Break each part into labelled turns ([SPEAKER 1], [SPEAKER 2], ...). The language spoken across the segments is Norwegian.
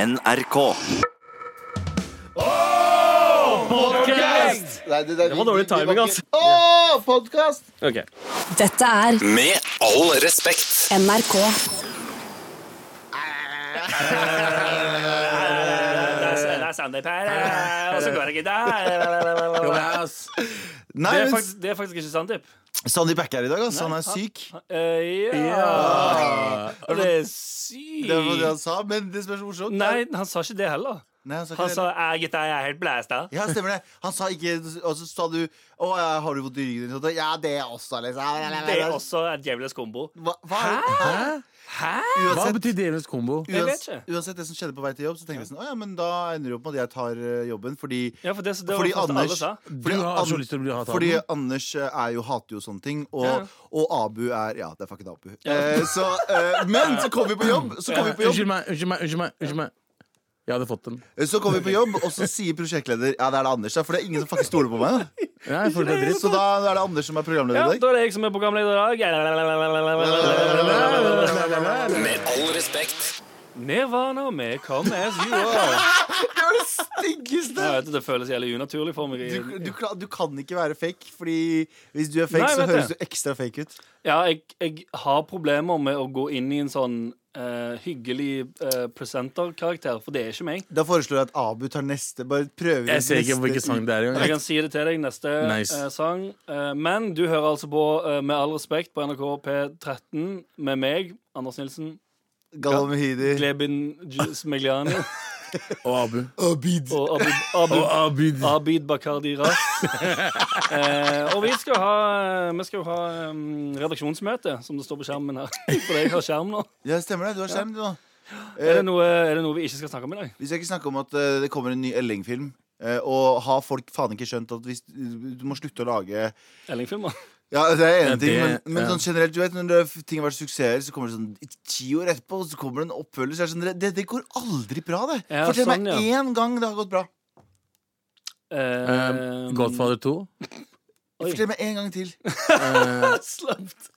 [SPEAKER 1] NRK.
[SPEAKER 2] Nei, det, det,
[SPEAKER 3] var dårlig timing, altså.
[SPEAKER 2] Åh, podcast!
[SPEAKER 3] Ok.
[SPEAKER 4] Dette er
[SPEAKER 1] Med all respekt.
[SPEAKER 4] NRK.
[SPEAKER 5] Det er Sandeep her, eh, og så går jeg ikke der.
[SPEAKER 2] altså, Nei,
[SPEAKER 5] Det er
[SPEAKER 2] men
[SPEAKER 5] faktisk, det er faktisk ikke Sandeep.
[SPEAKER 2] Sandeep er ikke her i dag, altså. Han er syk.
[SPEAKER 5] Eh, ja Det er sykt.
[SPEAKER 2] Det var det han sa, men det spørs hvor sånn.
[SPEAKER 5] Nei, han sa ikke det heller.
[SPEAKER 2] Nei, han sa ikke
[SPEAKER 5] Han
[SPEAKER 2] det.
[SPEAKER 5] sa «Eh, gutta, jeg er helt blæsta.
[SPEAKER 2] Ja, stemmer det. Han sa ikke Og så sa du Å, ja, har du vondt i ryggen? din?» Ja, det også, liksom.
[SPEAKER 5] Det er også et jævlig kombo.
[SPEAKER 2] Hva? hva? Hæ?
[SPEAKER 5] Hæ?
[SPEAKER 3] Hva
[SPEAKER 2] Uansett,
[SPEAKER 3] betyr djevelens kombo?
[SPEAKER 5] Jeg vet
[SPEAKER 2] uansett,
[SPEAKER 5] ikke.
[SPEAKER 2] uansett det som skjedde på vei til jobb, så tenkte jeg sånn Å ja, men da ender det opp med at jeg tar eh, jobben, fordi
[SPEAKER 5] Ja, for det, det var
[SPEAKER 2] fordi
[SPEAKER 5] det første alle
[SPEAKER 2] Anders,
[SPEAKER 5] sa.
[SPEAKER 2] fordi,
[SPEAKER 3] Du har så
[SPEAKER 2] An-
[SPEAKER 3] lyst til å bli hatet av
[SPEAKER 2] fordi
[SPEAKER 3] den.
[SPEAKER 2] Anders eh, er jo, hater jo sånne ting, og,
[SPEAKER 5] Ja.
[SPEAKER 2] og Abu er Ja, det er fucking Abu. Eh, så, eh, men så kom vi på jobb, så kom vi på jobb,
[SPEAKER 3] Unnskyld meg, unnskyld meg, unnskyld meg. unnskyld meg Jeg hadde fått den.
[SPEAKER 2] så kom vi på jobb og så sier prosjektleder Ja, det er det Anders, da, for det er ingen som fucking stoler på meg. Da.
[SPEAKER 3] Nei, for det er dritt.
[SPEAKER 2] Så da er det Anders som er
[SPEAKER 5] Ja,
[SPEAKER 2] programleder i
[SPEAKER 5] da
[SPEAKER 2] dag.
[SPEAKER 5] er det jeg som er programleder i dag.
[SPEAKER 1] Med all respekt.
[SPEAKER 5] Nirvana med Come As You Are.
[SPEAKER 2] Det var det styggeste!
[SPEAKER 5] Jeg vet, det føles jævlig unaturlig for meg.
[SPEAKER 2] Du, du, kla- du kan ikke være fake, Fordi hvis du er fake,
[SPEAKER 5] Nei,
[SPEAKER 2] så
[SPEAKER 5] vet
[SPEAKER 2] høres
[SPEAKER 5] jeg.
[SPEAKER 2] du ekstra fake ut.
[SPEAKER 5] Ja, jeg, jeg har problemer med å gå inn i en sånn eh, hyggelig eh, presenterkarakter, for det er ikke meg.
[SPEAKER 2] Da foreslår jeg at Abu tar neste. Bare prøver
[SPEAKER 3] Jeg ser ikke hvilken sang det er
[SPEAKER 5] Jeg
[SPEAKER 3] engang.
[SPEAKER 5] kan si det til deg neste
[SPEAKER 3] Nice.
[SPEAKER 5] eh, sang. Eh, men du hører altså på eh, Med all respekt på NRK P13 med meg, Anders Nilsen,
[SPEAKER 2] Galvan Mehidi.
[SPEAKER 5] Glebin J- Smegliani
[SPEAKER 3] Og Abu.
[SPEAKER 2] Abid.
[SPEAKER 5] og Abid, Abid,
[SPEAKER 3] Abid.
[SPEAKER 5] Abid Bakardi Ras. Eh, og vi skal ha, vi skal jo ha eh, redaksjonsmøte, som det står på skjermen her. For jeg har skjerm nå.
[SPEAKER 2] Ja, stemmer det. Du har skjerm, du nå.
[SPEAKER 3] Eh.
[SPEAKER 5] Er det, noe, er det noe vi ikke skal snakke om i dag?
[SPEAKER 2] Vi skal ikke snakke om at eh, det kommer en ny Elling-film. eh, og har folk faen ikke skjønt at hvis du må slutte å lage
[SPEAKER 5] Ellingfilmer?
[SPEAKER 2] Ja, det er en
[SPEAKER 3] det-
[SPEAKER 2] ting, men, men
[SPEAKER 3] ja.
[SPEAKER 2] sånn generelt, du vet, når det- ting har vært suksesser, så kommer det sånn ti år etterpå, så kommer det en oppfølgelse. så er det Sånn, det, det går aldri bra, det.
[SPEAKER 5] Ja,
[SPEAKER 2] Fortell
[SPEAKER 5] sånn,
[SPEAKER 2] meg én gang det har gått bra.
[SPEAKER 3] Eh, Godfather 2.
[SPEAKER 5] Oi.
[SPEAKER 2] Fortell meg en gang til.
[SPEAKER 3] Eh,
[SPEAKER 5] Slemt.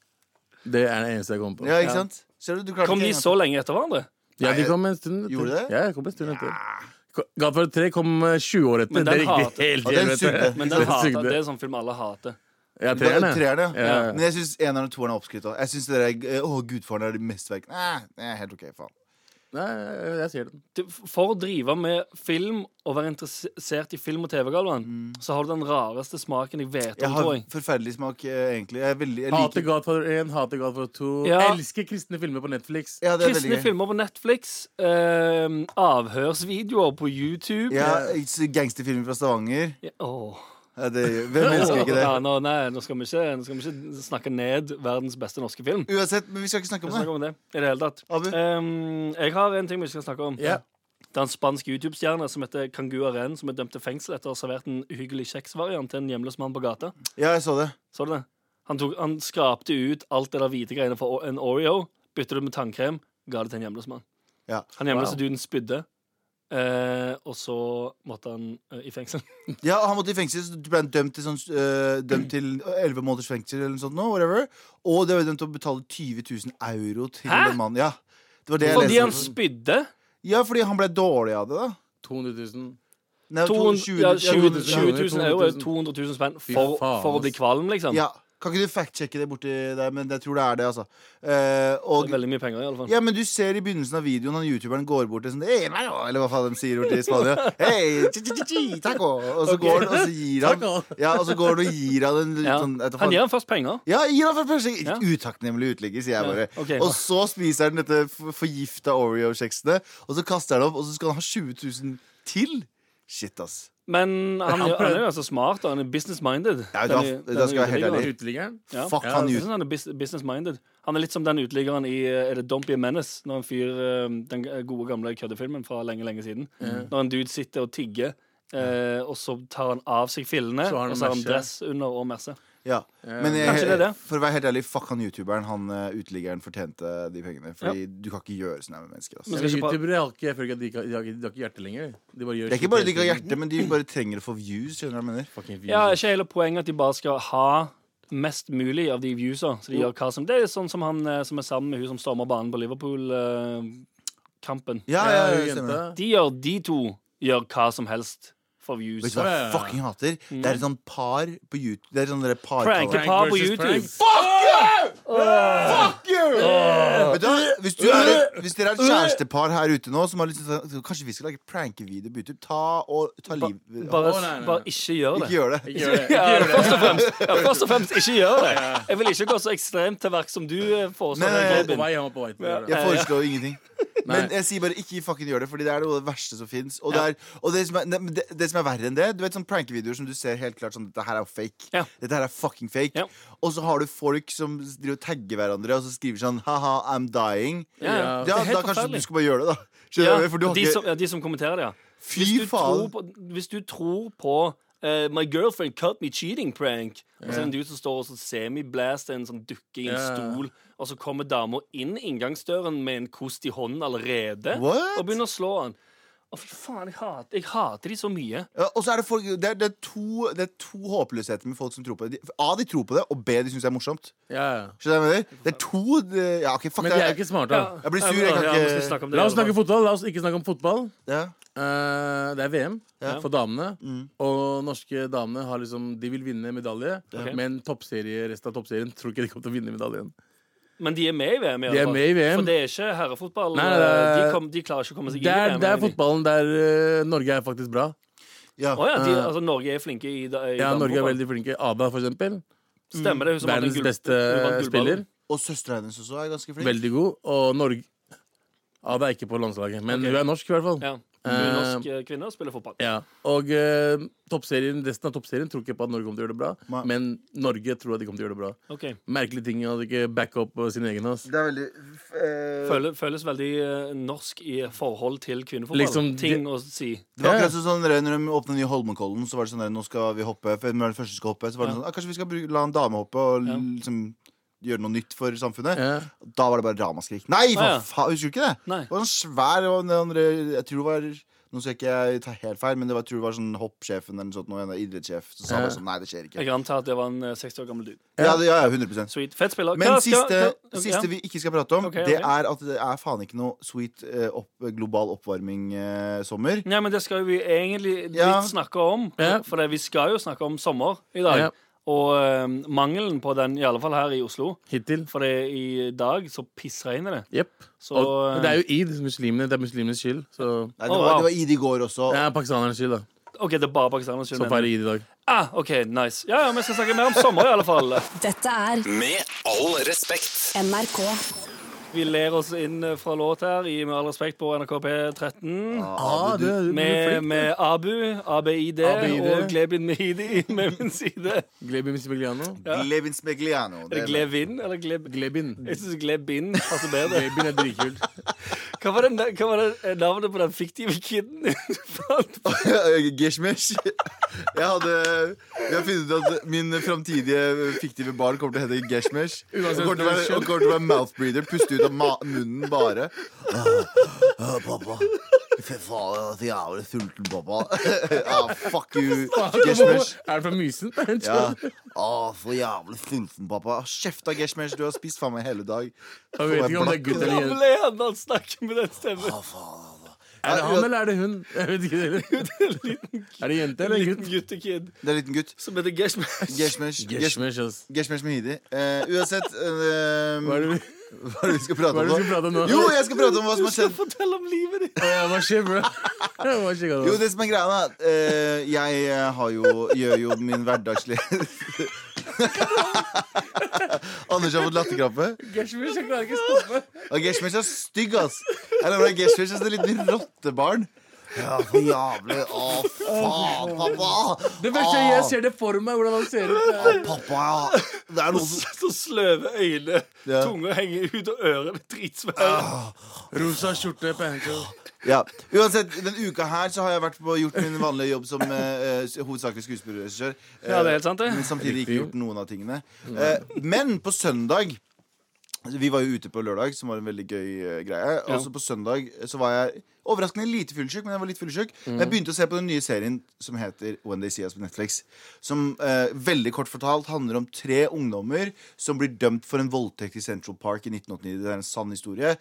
[SPEAKER 3] det er det eneste jeg kommer på.
[SPEAKER 2] Ja, ikke
[SPEAKER 5] Ja.
[SPEAKER 2] sant? Ser du, du klarte
[SPEAKER 5] Kom
[SPEAKER 2] ikke
[SPEAKER 5] de
[SPEAKER 2] en gang
[SPEAKER 5] så lenge etter hverandre?
[SPEAKER 3] Ja, de kom en stund etter.
[SPEAKER 2] Gjorde det?
[SPEAKER 3] Ja, jeg kom en stund etter. Ko- Godfather 3 kom eh, 20 år etter.
[SPEAKER 5] Men den
[SPEAKER 3] Det gikk
[SPEAKER 5] hater-
[SPEAKER 3] helt
[SPEAKER 2] Ja, den
[SPEAKER 3] jævlig etter.
[SPEAKER 2] sugde.
[SPEAKER 5] Men
[SPEAKER 3] Den
[SPEAKER 5] den hater,
[SPEAKER 3] sugde.
[SPEAKER 5] det er sånn film alle hater.
[SPEAKER 3] Ja,
[SPEAKER 2] til.
[SPEAKER 3] treeren, ja.
[SPEAKER 2] Treeren, ja.
[SPEAKER 3] Ja.
[SPEAKER 2] Men jeg syns eneren og toeren er oppskrytt. også. Jeg synes det der, Å, gudfaren er det mesterverket. Nei, det er helt OK, faen.
[SPEAKER 3] Nei, jeg- jeg ser den.
[SPEAKER 5] Du- For å drive med film og være interessert i film og TV, Galvan, så har du den rareste smaken jeg vet
[SPEAKER 2] Mm. Jeg
[SPEAKER 5] om,
[SPEAKER 2] har
[SPEAKER 5] tror jeg.
[SPEAKER 2] forferdelig smak, eh, egentlig. Jeg, er veldig, jeg liker
[SPEAKER 3] Hater Godfather 1, hater Godfather 2.
[SPEAKER 5] Ja.
[SPEAKER 3] Elsker kristne filmer på Netflix.
[SPEAKER 2] ja, det er veldig
[SPEAKER 5] Kristne
[SPEAKER 2] gøy.
[SPEAKER 5] filmer på Netflix, eh, avhørsvideoer på YouTube
[SPEAKER 2] Ja, Gangsterfilmer fra Stavanger.
[SPEAKER 5] Eh, Ja, åh.
[SPEAKER 2] Ja, det, hvem elsker ikke det?
[SPEAKER 5] Ja, nå, nei, nå, skal vi ikke, nå skal vi ikke snakke ned verdens beste norske film.
[SPEAKER 2] Uansett, men vi skal ikke snakke
[SPEAKER 5] Vi
[SPEAKER 2] om det.
[SPEAKER 5] snakker om det i det hele tatt.
[SPEAKER 2] Abu?
[SPEAKER 5] Ehm, jeg har en ting vi ikke skal snakke om.
[SPEAKER 3] Ja.
[SPEAKER 5] Det er en spansk YouTube-stjerne som heter Kangua Ren, som er dømt til fengsel etter å ha servert en uhyggelig kjeksvariant til en hjemløs mann på gata.
[SPEAKER 2] Ja, jeg så det.
[SPEAKER 5] Så du det? Han, tok, han skrapte ut alt det der hvite greiene fra o- en Oreo, byttet det med tannkrem, ga det til en hjemløs mann.
[SPEAKER 2] Ja.
[SPEAKER 5] Han hjemløse
[SPEAKER 3] Wow.
[SPEAKER 5] duden spydde, eh, og så måtte han eh, i fengsel.
[SPEAKER 2] Ja, Han måtte i fengsel, så ble han dømt til sånn, øh, Dømt til 11 måneders fengsel eller noe sånt. Nå, whatever. Og det var dømt til å betale 20 000 euro til
[SPEAKER 5] Hæ?
[SPEAKER 2] en mann. Ja, det var det jeg
[SPEAKER 5] Fordi han
[SPEAKER 2] leste.
[SPEAKER 5] spydde?
[SPEAKER 2] Ja, fordi han ble dårlig av det, da.
[SPEAKER 3] 200 000.
[SPEAKER 2] Nei,
[SPEAKER 5] 200, ja, 20
[SPEAKER 3] 000
[SPEAKER 5] 20 000 euro er
[SPEAKER 3] 200 000.
[SPEAKER 5] 200 000 spenn
[SPEAKER 3] Fy
[SPEAKER 5] for,
[SPEAKER 3] faen,
[SPEAKER 5] for å bli
[SPEAKER 3] ass.
[SPEAKER 5] kvalm, liksom.
[SPEAKER 2] altså. Ja, Kan ikke du fact-sjekke det borti der, men jeg tror det er det, altså. Eh, og,
[SPEAKER 5] Det er veldig mye penger, i alle fall.
[SPEAKER 2] ja, men du ser i begynnelsen av videoen han youtuberen går bort til sånn hey, mano, Eller hva faen de sier borti Spania. Hey, chi, chi, chi, chi, taco. Og så går han og så gir
[SPEAKER 3] Taco.
[SPEAKER 2] han Ja, og så går han og gir han en litt
[SPEAKER 5] Ja.
[SPEAKER 2] sånn jeg vet
[SPEAKER 5] Han
[SPEAKER 2] faen-
[SPEAKER 5] gir ham først penger.
[SPEAKER 2] ja, gir han for første
[SPEAKER 5] Ja.
[SPEAKER 2] Utakknemlig uteligger, sier jeg bare.
[SPEAKER 5] Ja, ok.
[SPEAKER 2] Og så spiser han dette f- forgifta Oreo-kjeksene, og så kaster han opp, og så skal han ha 20 000 til. Shit, ass.
[SPEAKER 5] Men han,
[SPEAKER 3] Han
[SPEAKER 5] gjør- han er
[SPEAKER 3] prøvde-
[SPEAKER 5] jo altså smart, og han er business-minded.
[SPEAKER 2] Ja, da-
[SPEAKER 5] Denne-
[SPEAKER 2] da
[SPEAKER 5] denne
[SPEAKER 2] skal jeg være helt
[SPEAKER 5] uteliggeren.
[SPEAKER 2] ærlig.
[SPEAKER 3] Uteliggeren?
[SPEAKER 5] Ja.
[SPEAKER 2] Fuck
[SPEAKER 3] Ja,
[SPEAKER 2] han
[SPEAKER 5] Jeg
[SPEAKER 2] ut.
[SPEAKER 5] synes han er sånn. bus- business-minded. Han er litt som den uteliggeren i eh, Er det Don't Be a Menace? Når en fyr eh, Den gode, gamle køddefilmen fra lenge, lenge siden. Når en dude sitter og tigger, eh, og så tar han av seg fillene,
[SPEAKER 3] Så har han
[SPEAKER 5] og så har han
[SPEAKER 3] merse.
[SPEAKER 5] dress under og merse.
[SPEAKER 2] Ja. Men jeg,
[SPEAKER 5] Kanskje det er det.
[SPEAKER 2] for å være helt ærlig, fuck han youtuberen. Han eh, uteliggeren fortjente de pengene. Fordi du kan ikke gjøre sånn her med mennesker.
[SPEAKER 5] Men
[SPEAKER 2] Ass.
[SPEAKER 5] skal ikke bare-
[SPEAKER 3] Youtubere har ikke, jeg føler ikke at de, ikke- de, har ikke- de har ikke hjerte lenger. De bare gjør
[SPEAKER 2] Det er ikke bare de ikke har hjerte, men de bare trenger å få views. Skjønner du hva jeg mener?
[SPEAKER 3] Fucking
[SPEAKER 5] Ja, er ikke hele poenget at de bare skal ha mest mulig av de viewsa. Så de gjør hva som Det er sånn som han eh, som er sammen med hun som stormer banen på Liverpool. eh, kampen.
[SPEAKER 2] Ja, ja,
[SPEAKER 3] Ja,
[SPEAKER 2] det stemmer.
[SPEAKER 3] jenta.
[SPEAKER 5] De gjør, de to gjør hva som helst for views.
[SPEAKER 2] Vet du hva jeg fucking hater? Det er et sånt par på YouTube Det er sånn derre par
[SPEAKER 5] Prank
[SPEAKER 3] Prank
[SPEAKER 5] par på
[SPEAKER 3] versus
[SPEAKER 5] YouTube.
[SPEAKER 3] prank.
[SPEAKER 2] Fuck you! Vet du hva? Hvis, du er et, hvis dere er et kjærestepar her ute nå som har lyst til å så Kanskje vi skal lage prankevideo på YouTube? Ta og ta liv
[SPEAKER 5] Bare,
[SPEAKER 3] Å, nei, nei.
[SPEAKER 5] bare ikke gjør det.
[SPEAKER 2] Ikke gjør det.
[SPEAKER 3] Ikke gjør det.
[SPEAKER 5] Ja,
[SPEAKER 3] Ikke gjør det.
[SPEAKER 5] først og fremst, ja, først og fremst ikke gjør det. Jeg vil ikke gå så ekstremt til verks som du eh,
[SPEAKER 2] Nei,
[SPEAKER 5] foreslår.
[SPEAKER 2] nei, nei.
[SPEAKER 5] Robin.
[SPEAKER 3] På vei hjem og på vei til å gjøre det.
[SPEAKER 5] Eh,
[SPEAKER 2] Jeg foreslår ingenting.
[SPEAKER 3] Nei.
[SPEAKER 2] Men jeg sier bare ikke fucking gjør det, Fordi det er noe av det verste som fins. Og, det, er, og det, som er, det, det som er verre enn det Du vet sånne prankevideoer som du ser helt klart sånn Dette her er jo fake.
[SPEAKER 5] Ja.
[SPEAKER 2] Dette her er fucking fake.
[SPEAKER 5] Ja.
[SPEAKER 2] Og så har du folk som driver og tagger hverandre og så skriver sånn Haha, I'm dying.
[SPEAKER 5] Ja, ja.
[SPEAKER 3] Ja,
[SPEAKER 5] Det
[SPEAKER 2] Ja,
[SPEAKER 5] er
[SPEAKER 2] da
[SPEAKER 5] helt
[SPEAKER 2] kanskje du
[SPEAKER 5] forferdelig.
[SPEAKER 2] skal bare gjøre det, da.
[SPEAKER 5] Ja,
[SPEAKER 2] Skjønner du? For du har
[SPEAKER 5] de, som,
[SPEAKER 2] ikke
[SPEAKER 5] ja, de som kommenterer det, ja.
[SPEAKER 2] Fy
[SPEAKER 5] Hvis du tror
[SPEAKER 2] faen.
[SPEAKER 5] på, hvis du tror på eh, My girlfriend cut me cheating prank Og så er det en dude som står og så semi-blaster en sånn dukke i en
[SPEAKER 3] Ja.
[SPEAKER 5] stol, og så kommer dama inn inngangsdøren med en kost i hånden allerede
[SPEAKER 2] What?
[SPEAKER 5] og begynner å slå han. Å, fy faen, jeg hater, jeg hater de så mye.
[SPEAKER 2] Ja, og så er det, folk, det, er, det, er to, det er to håpløsheter med folk som tror på det. De- A, de tror på det, og B, de syns det er morsomt.
[SPEAKER 3] Ja, ja.
[SPEAKER 2] Skjønner du hva jeg mener? Det er to de- Ja, OK, fuck
[SPEAKER 3] Men
[SPEAKER 2] det.
[SPEAKER 3] de er jo ikke smarte. da.
[SPEAKER 2] Jeg blir sur, jeg kan
[SPEAKER 5] Ja,
[SPEAKER 2] ikke-
[SPEAKER 5] vi skal snakke om det
[SPEAKER 3] La oss
[SPEAKER 5] i alle
[SPEAKER 3] snakke
[SPEAKER 5] fall.
[SPEAKER 3] fotball. La oss ikke snakke om fotball.
[SPEAKER 2] ja.
[SPEAKER 3] Eh, det er VM
[SPEAKER 5] Ja.
[SPEAKER 3] for damene.
[SPEAKER 2] Mm.
[SPEAKER 3] Og norske damene har liksom, de vil vinne medalje,
[SPEAKER 5] Ok.
[SPEAKER 3] men toppserie, resten av toppserien tror ikke de kommer til å vinne medaljen.
[SPEAKER 5] Men de er med i VM, i
[SPEAKER 3] De er
[SPEAKER 5] alle fall.
[SPEAKER 3] med i VM.
[SPEAKER 5] For det er ikke herrefotball. eh,
[SPEAKER 3] Nei, det er-
[SPEAKER 5] de, kom, de klarer ikke å komme seg
[SPEAKER 3] Det er,
[SPEAKER 5] inn i VM.
[SPEAKER 3] det
[SPEAKER 5] mener
[SPEAKER 3] er
[SPEAKER 5] de.
[SPEAKER 3] fotballen der eh, Norge er faktisk bra.
[SPEAKER 2] ja.
[SPEAKER 5] Å ja, de, altså, Norge er flinke i, da- i
[SPEAKER 3] Eh, Ja, Norge er
[SPEAKER 5] damefotball.
[SPEAKER 3] veldig flinke. Ada, for eksempel.
[SPEAKER 5] Stemmer det. Hun som
[SPEAKER 3] Verdens
[SPEAKER 5] hadde gull-
[SPEAKER 3] beste eh,
[SPEAKER 5] hun vant gullballen.
[SPEAKER 3] spiller.
[SPEAKER 2] Og søstera hennes også er ganske flink.
[SPEAKER 3] Veldig god. Og Norge Ada er ikke på landslaget, men
[SPEAKER 5] Ok.
[SPEAKER 3] hun er norsk, i hvert fall.
[SPEAKER 5] Ja. Hun er norsk eh, kvinne og spiller fotball.
[SPEAKER 3] Ja, og eh, toppserien, resten av toppserien tror ikke på at Norge kommer til å gjøre det bra.
[SPEAKER 2] Nei.
[SPEAKER 3] Men Norge tror at de kommer til å gjøre det bra.
[SPEAKER 5] Ok.
[SPEAKER 3] Merkelige ting at de ikke backer opp eh, sin egen. ass.
[SPEAKER 2] Det er veldig eh,
[SPEAKER 5] Føles, føles veldig eh, norsk i forhold til kvinnefotball.
[SPEAKER 3] Liksom,
[SPEAKER 5] Ting å si.
[SPEAKER 2] Det var akkurat som sånn der, når de åpna nye Holmenkollen, så var det sånn der, nå skal vi hoppe. For når den første som skal hoppe, så var det sånn ah, Kanskje vi skal bruke, la en dame hoppe og
[SPEAKER 5] Ja.
[SPEAKER 2] liksom gjøre noe nytt for samfunnet.
[SPEAKER 3] Ja.
[SPEAKER 2] Da var det bare ramaskrik. Nei,
[SPEAKER 5] Ah, ja.
[SPEAKER 2] for faen! Husker du ikke det?
[SPEAKER 5] Nei.
[SPEAKER 2] Det var sånn svær og den andre, Jeg tror det var Nå skal ikke jeg ta helt feil, men det var, jeg tror det var sånn hoppsjefen eller noe sånt, noe, en idrettssjef, som sa
[SPEAKER 3] Ja.
[SPEAKER 2] bare sånn Nei, det skjer ikke.
[SPEAKER 5] Jeg antar at det var en eh, 60 år gammel dude.
[SPEAKER 2] Ja, det, ja, ja 100
[SPEAKER 5] Sweet. Fett spiller.
[SPEAKER 2] men
[SPEAKER 5] Hva skal-
[SPEAKER 2] siste,
[SPEAKER 5] hva-
[SPEAKER 2] siste
[SPEAKER 5] ja.
[SPEAKER 2] vi ikke skal prate om,
[SPEAKER 5] Ok,
[SPEAKER 2] det
[SPEAKER 5] ok.
[SPEAKER 2] er at det er faen ikke noe sweet eh, opp, global eh, oppvarming-sommer.
[SPEAKER 5] Nei, men det skal vi egentlig litt
[SPEAKER 2] Ja.
[SPEAKER 5] snakke om.
[SPEAKER 3] Ja.
[SPEAKER 5] For det, vi skal jo snakke om sommer i dag.
[SPEAKER 3] Ja.
[SPEAKER 5] Og eh, mangelen på den, i alle fall her i Oslo.
[SPEAKER 3] Hittil.
[SPEAKER 5] For det, i dag så pissregner det.
[SPEAKER 3] Jepp.
[SPEAKER 5] Så
[SPEAKER 3] Og det
[SPEAKER 5] eh,
[SPEAKER 3] er jo id. Muslimene. Det er muslimenes skyld. Så
[SPEAKER 2] Nei, det,
[SPEAKER 5] Å,
[SPEAKER 2] var,
[SPEAKER 5] wow.
[SPEAKER 2] det var id i går også.
[SPEAKER 3] det er pakistanernes skyld, da.
[SPEAKER 5] OK, det er bare pakistanerne som
[SPEAKER 3] Som
[SPEAKER 5] mener det.
[SPEAKER 3] feirer id i dag.
[SPEAKER 5] Ah, OK, nice. Ja, ja, vi skal snakke mer om sommer, i alle fall.
[SPEAKER 4] Dette er
[SPEAKER 1] Med all respekt.
[SPEAKER 4] NRK.
[SPEAKER 5] Vi ler oss inn fra låt her, i Med all respekt på NRK P13.
[SPEAKER 2] Ah, du-
[SPEAKER 3] du- du-
[SPEAKER 5] Med,
[SPEAKER 3] flink.
[SPEAKER 5] med Abu, ABID,
[SPEAKER 3] ABID.
[SPEAKER 5] og Glebin Mehidi med min side.
[SPEAKER 3] Glebin Sibiliano.
[SPEAKER 2] Glevin Smegliano.
[SPEAKER 5] Er det Glevin eller Gleb...
[SPEAKER 3] Glebin.
[SPEAKER 5] Jeg syns Glebin passer bedre.
[SPEAKER 3] Glebin er dritkult.
[SPEAKER 5] Hva var, den, hva var det navnet på den fiktive kiden du fant?
[SPEAKER 2] Gishmish. Jeg hadde Vi har funnet ut at min framtidige fiktive barn kommer til å hete Gishmish. Og
[SPEAKER 3] Uansett
[SPEAKER 2] kommer til å være,
[SPEAKER 3] kjønn.
[SPEAKER 2] og kommer til å være mouthbreather. Puste ut av ma munnen bare. Ah, ah, pappa. Fy faen, jeg var så jævlig sulten, pappa. Ah, fuck you, Gishmish.
[SPEAKER 3] Er det fra Mysen?
[SPEAKER 2] Ja. Ah, så jævlig sulten, pappa. Kjeft da, Gishmish. Du har spist faen meg hele dag.
[SPEAKER 3] Jeg vet ikke om det er gutt eller jente.
[SPEAKER 5] Gamle er han, han snakker med den stemmen.
[SPEAKER 2] Ah, faen, altså.
[SPEAKER 3] Er det han eller er det hun? Jeg vet ikke det. Er det jente eller
[SPEAKER 5] Liten
[SPEAKER 3] gutt?
[SPEAKER 5] guttekid
[SPEAKER 2] Det er en liten gutt.
[SPEAKER 5] som heter Geshmash.
[SPEAKER 2] Gishmish. Gishmish.
[SPEAKER 3] Geshmesh, ass.
[SPEAKER 2] Geshmesh Mehidi. Eh, uansett eh,
[SPEAKER 3] Hva er det vi
[SPEAKER 2] Hva er det vi skal prate
[SPEAKER 3] hva
[SPEAKER 2] om
[SPEAKER 3] er
[SPEAKER 2] nå?
[SPEAKER 3] det vi skal prate om nå?
[SPEAKER 2] Jo, jeg skal prate om hva som har skjedd.
[SPEAKER 5] Fortell om livet ditt.
[SPEAKER 3] Åh, Hva skjer, bro? Hva skjer,
[SPEAKER 2] Jo,
[SPEAKER 3] da?
[SPEAKER 2] det som er greia, da. eh, jeg eh, har jo, gjør jo min hverdagslige Anders har fått latterkrampe.
[SPEAKER 3] Geshmesh, jeg klarer ikke å stoppe.
[SPEAKER 2] Og Geshmesh er stygg, ass. Jeg lover deg, Geshmesh er et lite rottebarn. Ja, for jævlig. Å, faen, pappa.
[SPEAKER 3] Det første jeg ser det for meg, hvordan han ser ut.
[SPEAKER 2] Å, pappa, ja. Det er noe som
[SPEAKER 5] Så sløve øyne,
[SPEAKER 2] Ja. Ah.
[SPEAKER 5] tunga henger ut, og ørene er dritsvære.
[SPEAKER 3] Rosa skjorte, pancho.
[SPEAKER 2] Ja, Uansett, denne uka her så har jeg vært på gjort min vanlige jobb som eh, eh, hovedsakelig skuespillerregissør. Eh,
[SPEAKER 5] Ja, det er helt sant, det.
[SPEAKER 2] Men samtidig ikke
[SPEAKER 3] Riktig.
[SPEAKER 2] gjort noen av tingene. Eh, men på søndag Vi var jo ute på lørdag, som var en veldig gøy eh, greie.
[SPEAKER 5] Ja.
[SPEAKER 2] Og så på søndag eh, så var jeg overraskende lite fyllesyk, men jeg var litt fyllesyk.
[SPEAKER 5] Mm.
[SPEAKER 2] Men jeg begynte å se på den nye serien som heter When They See Us på Netflix. Som eh, veldig kort fortalt handler om tre ungdommer som blir dømt for en voldtekt i Central Park i 1989. Det er en sann historie.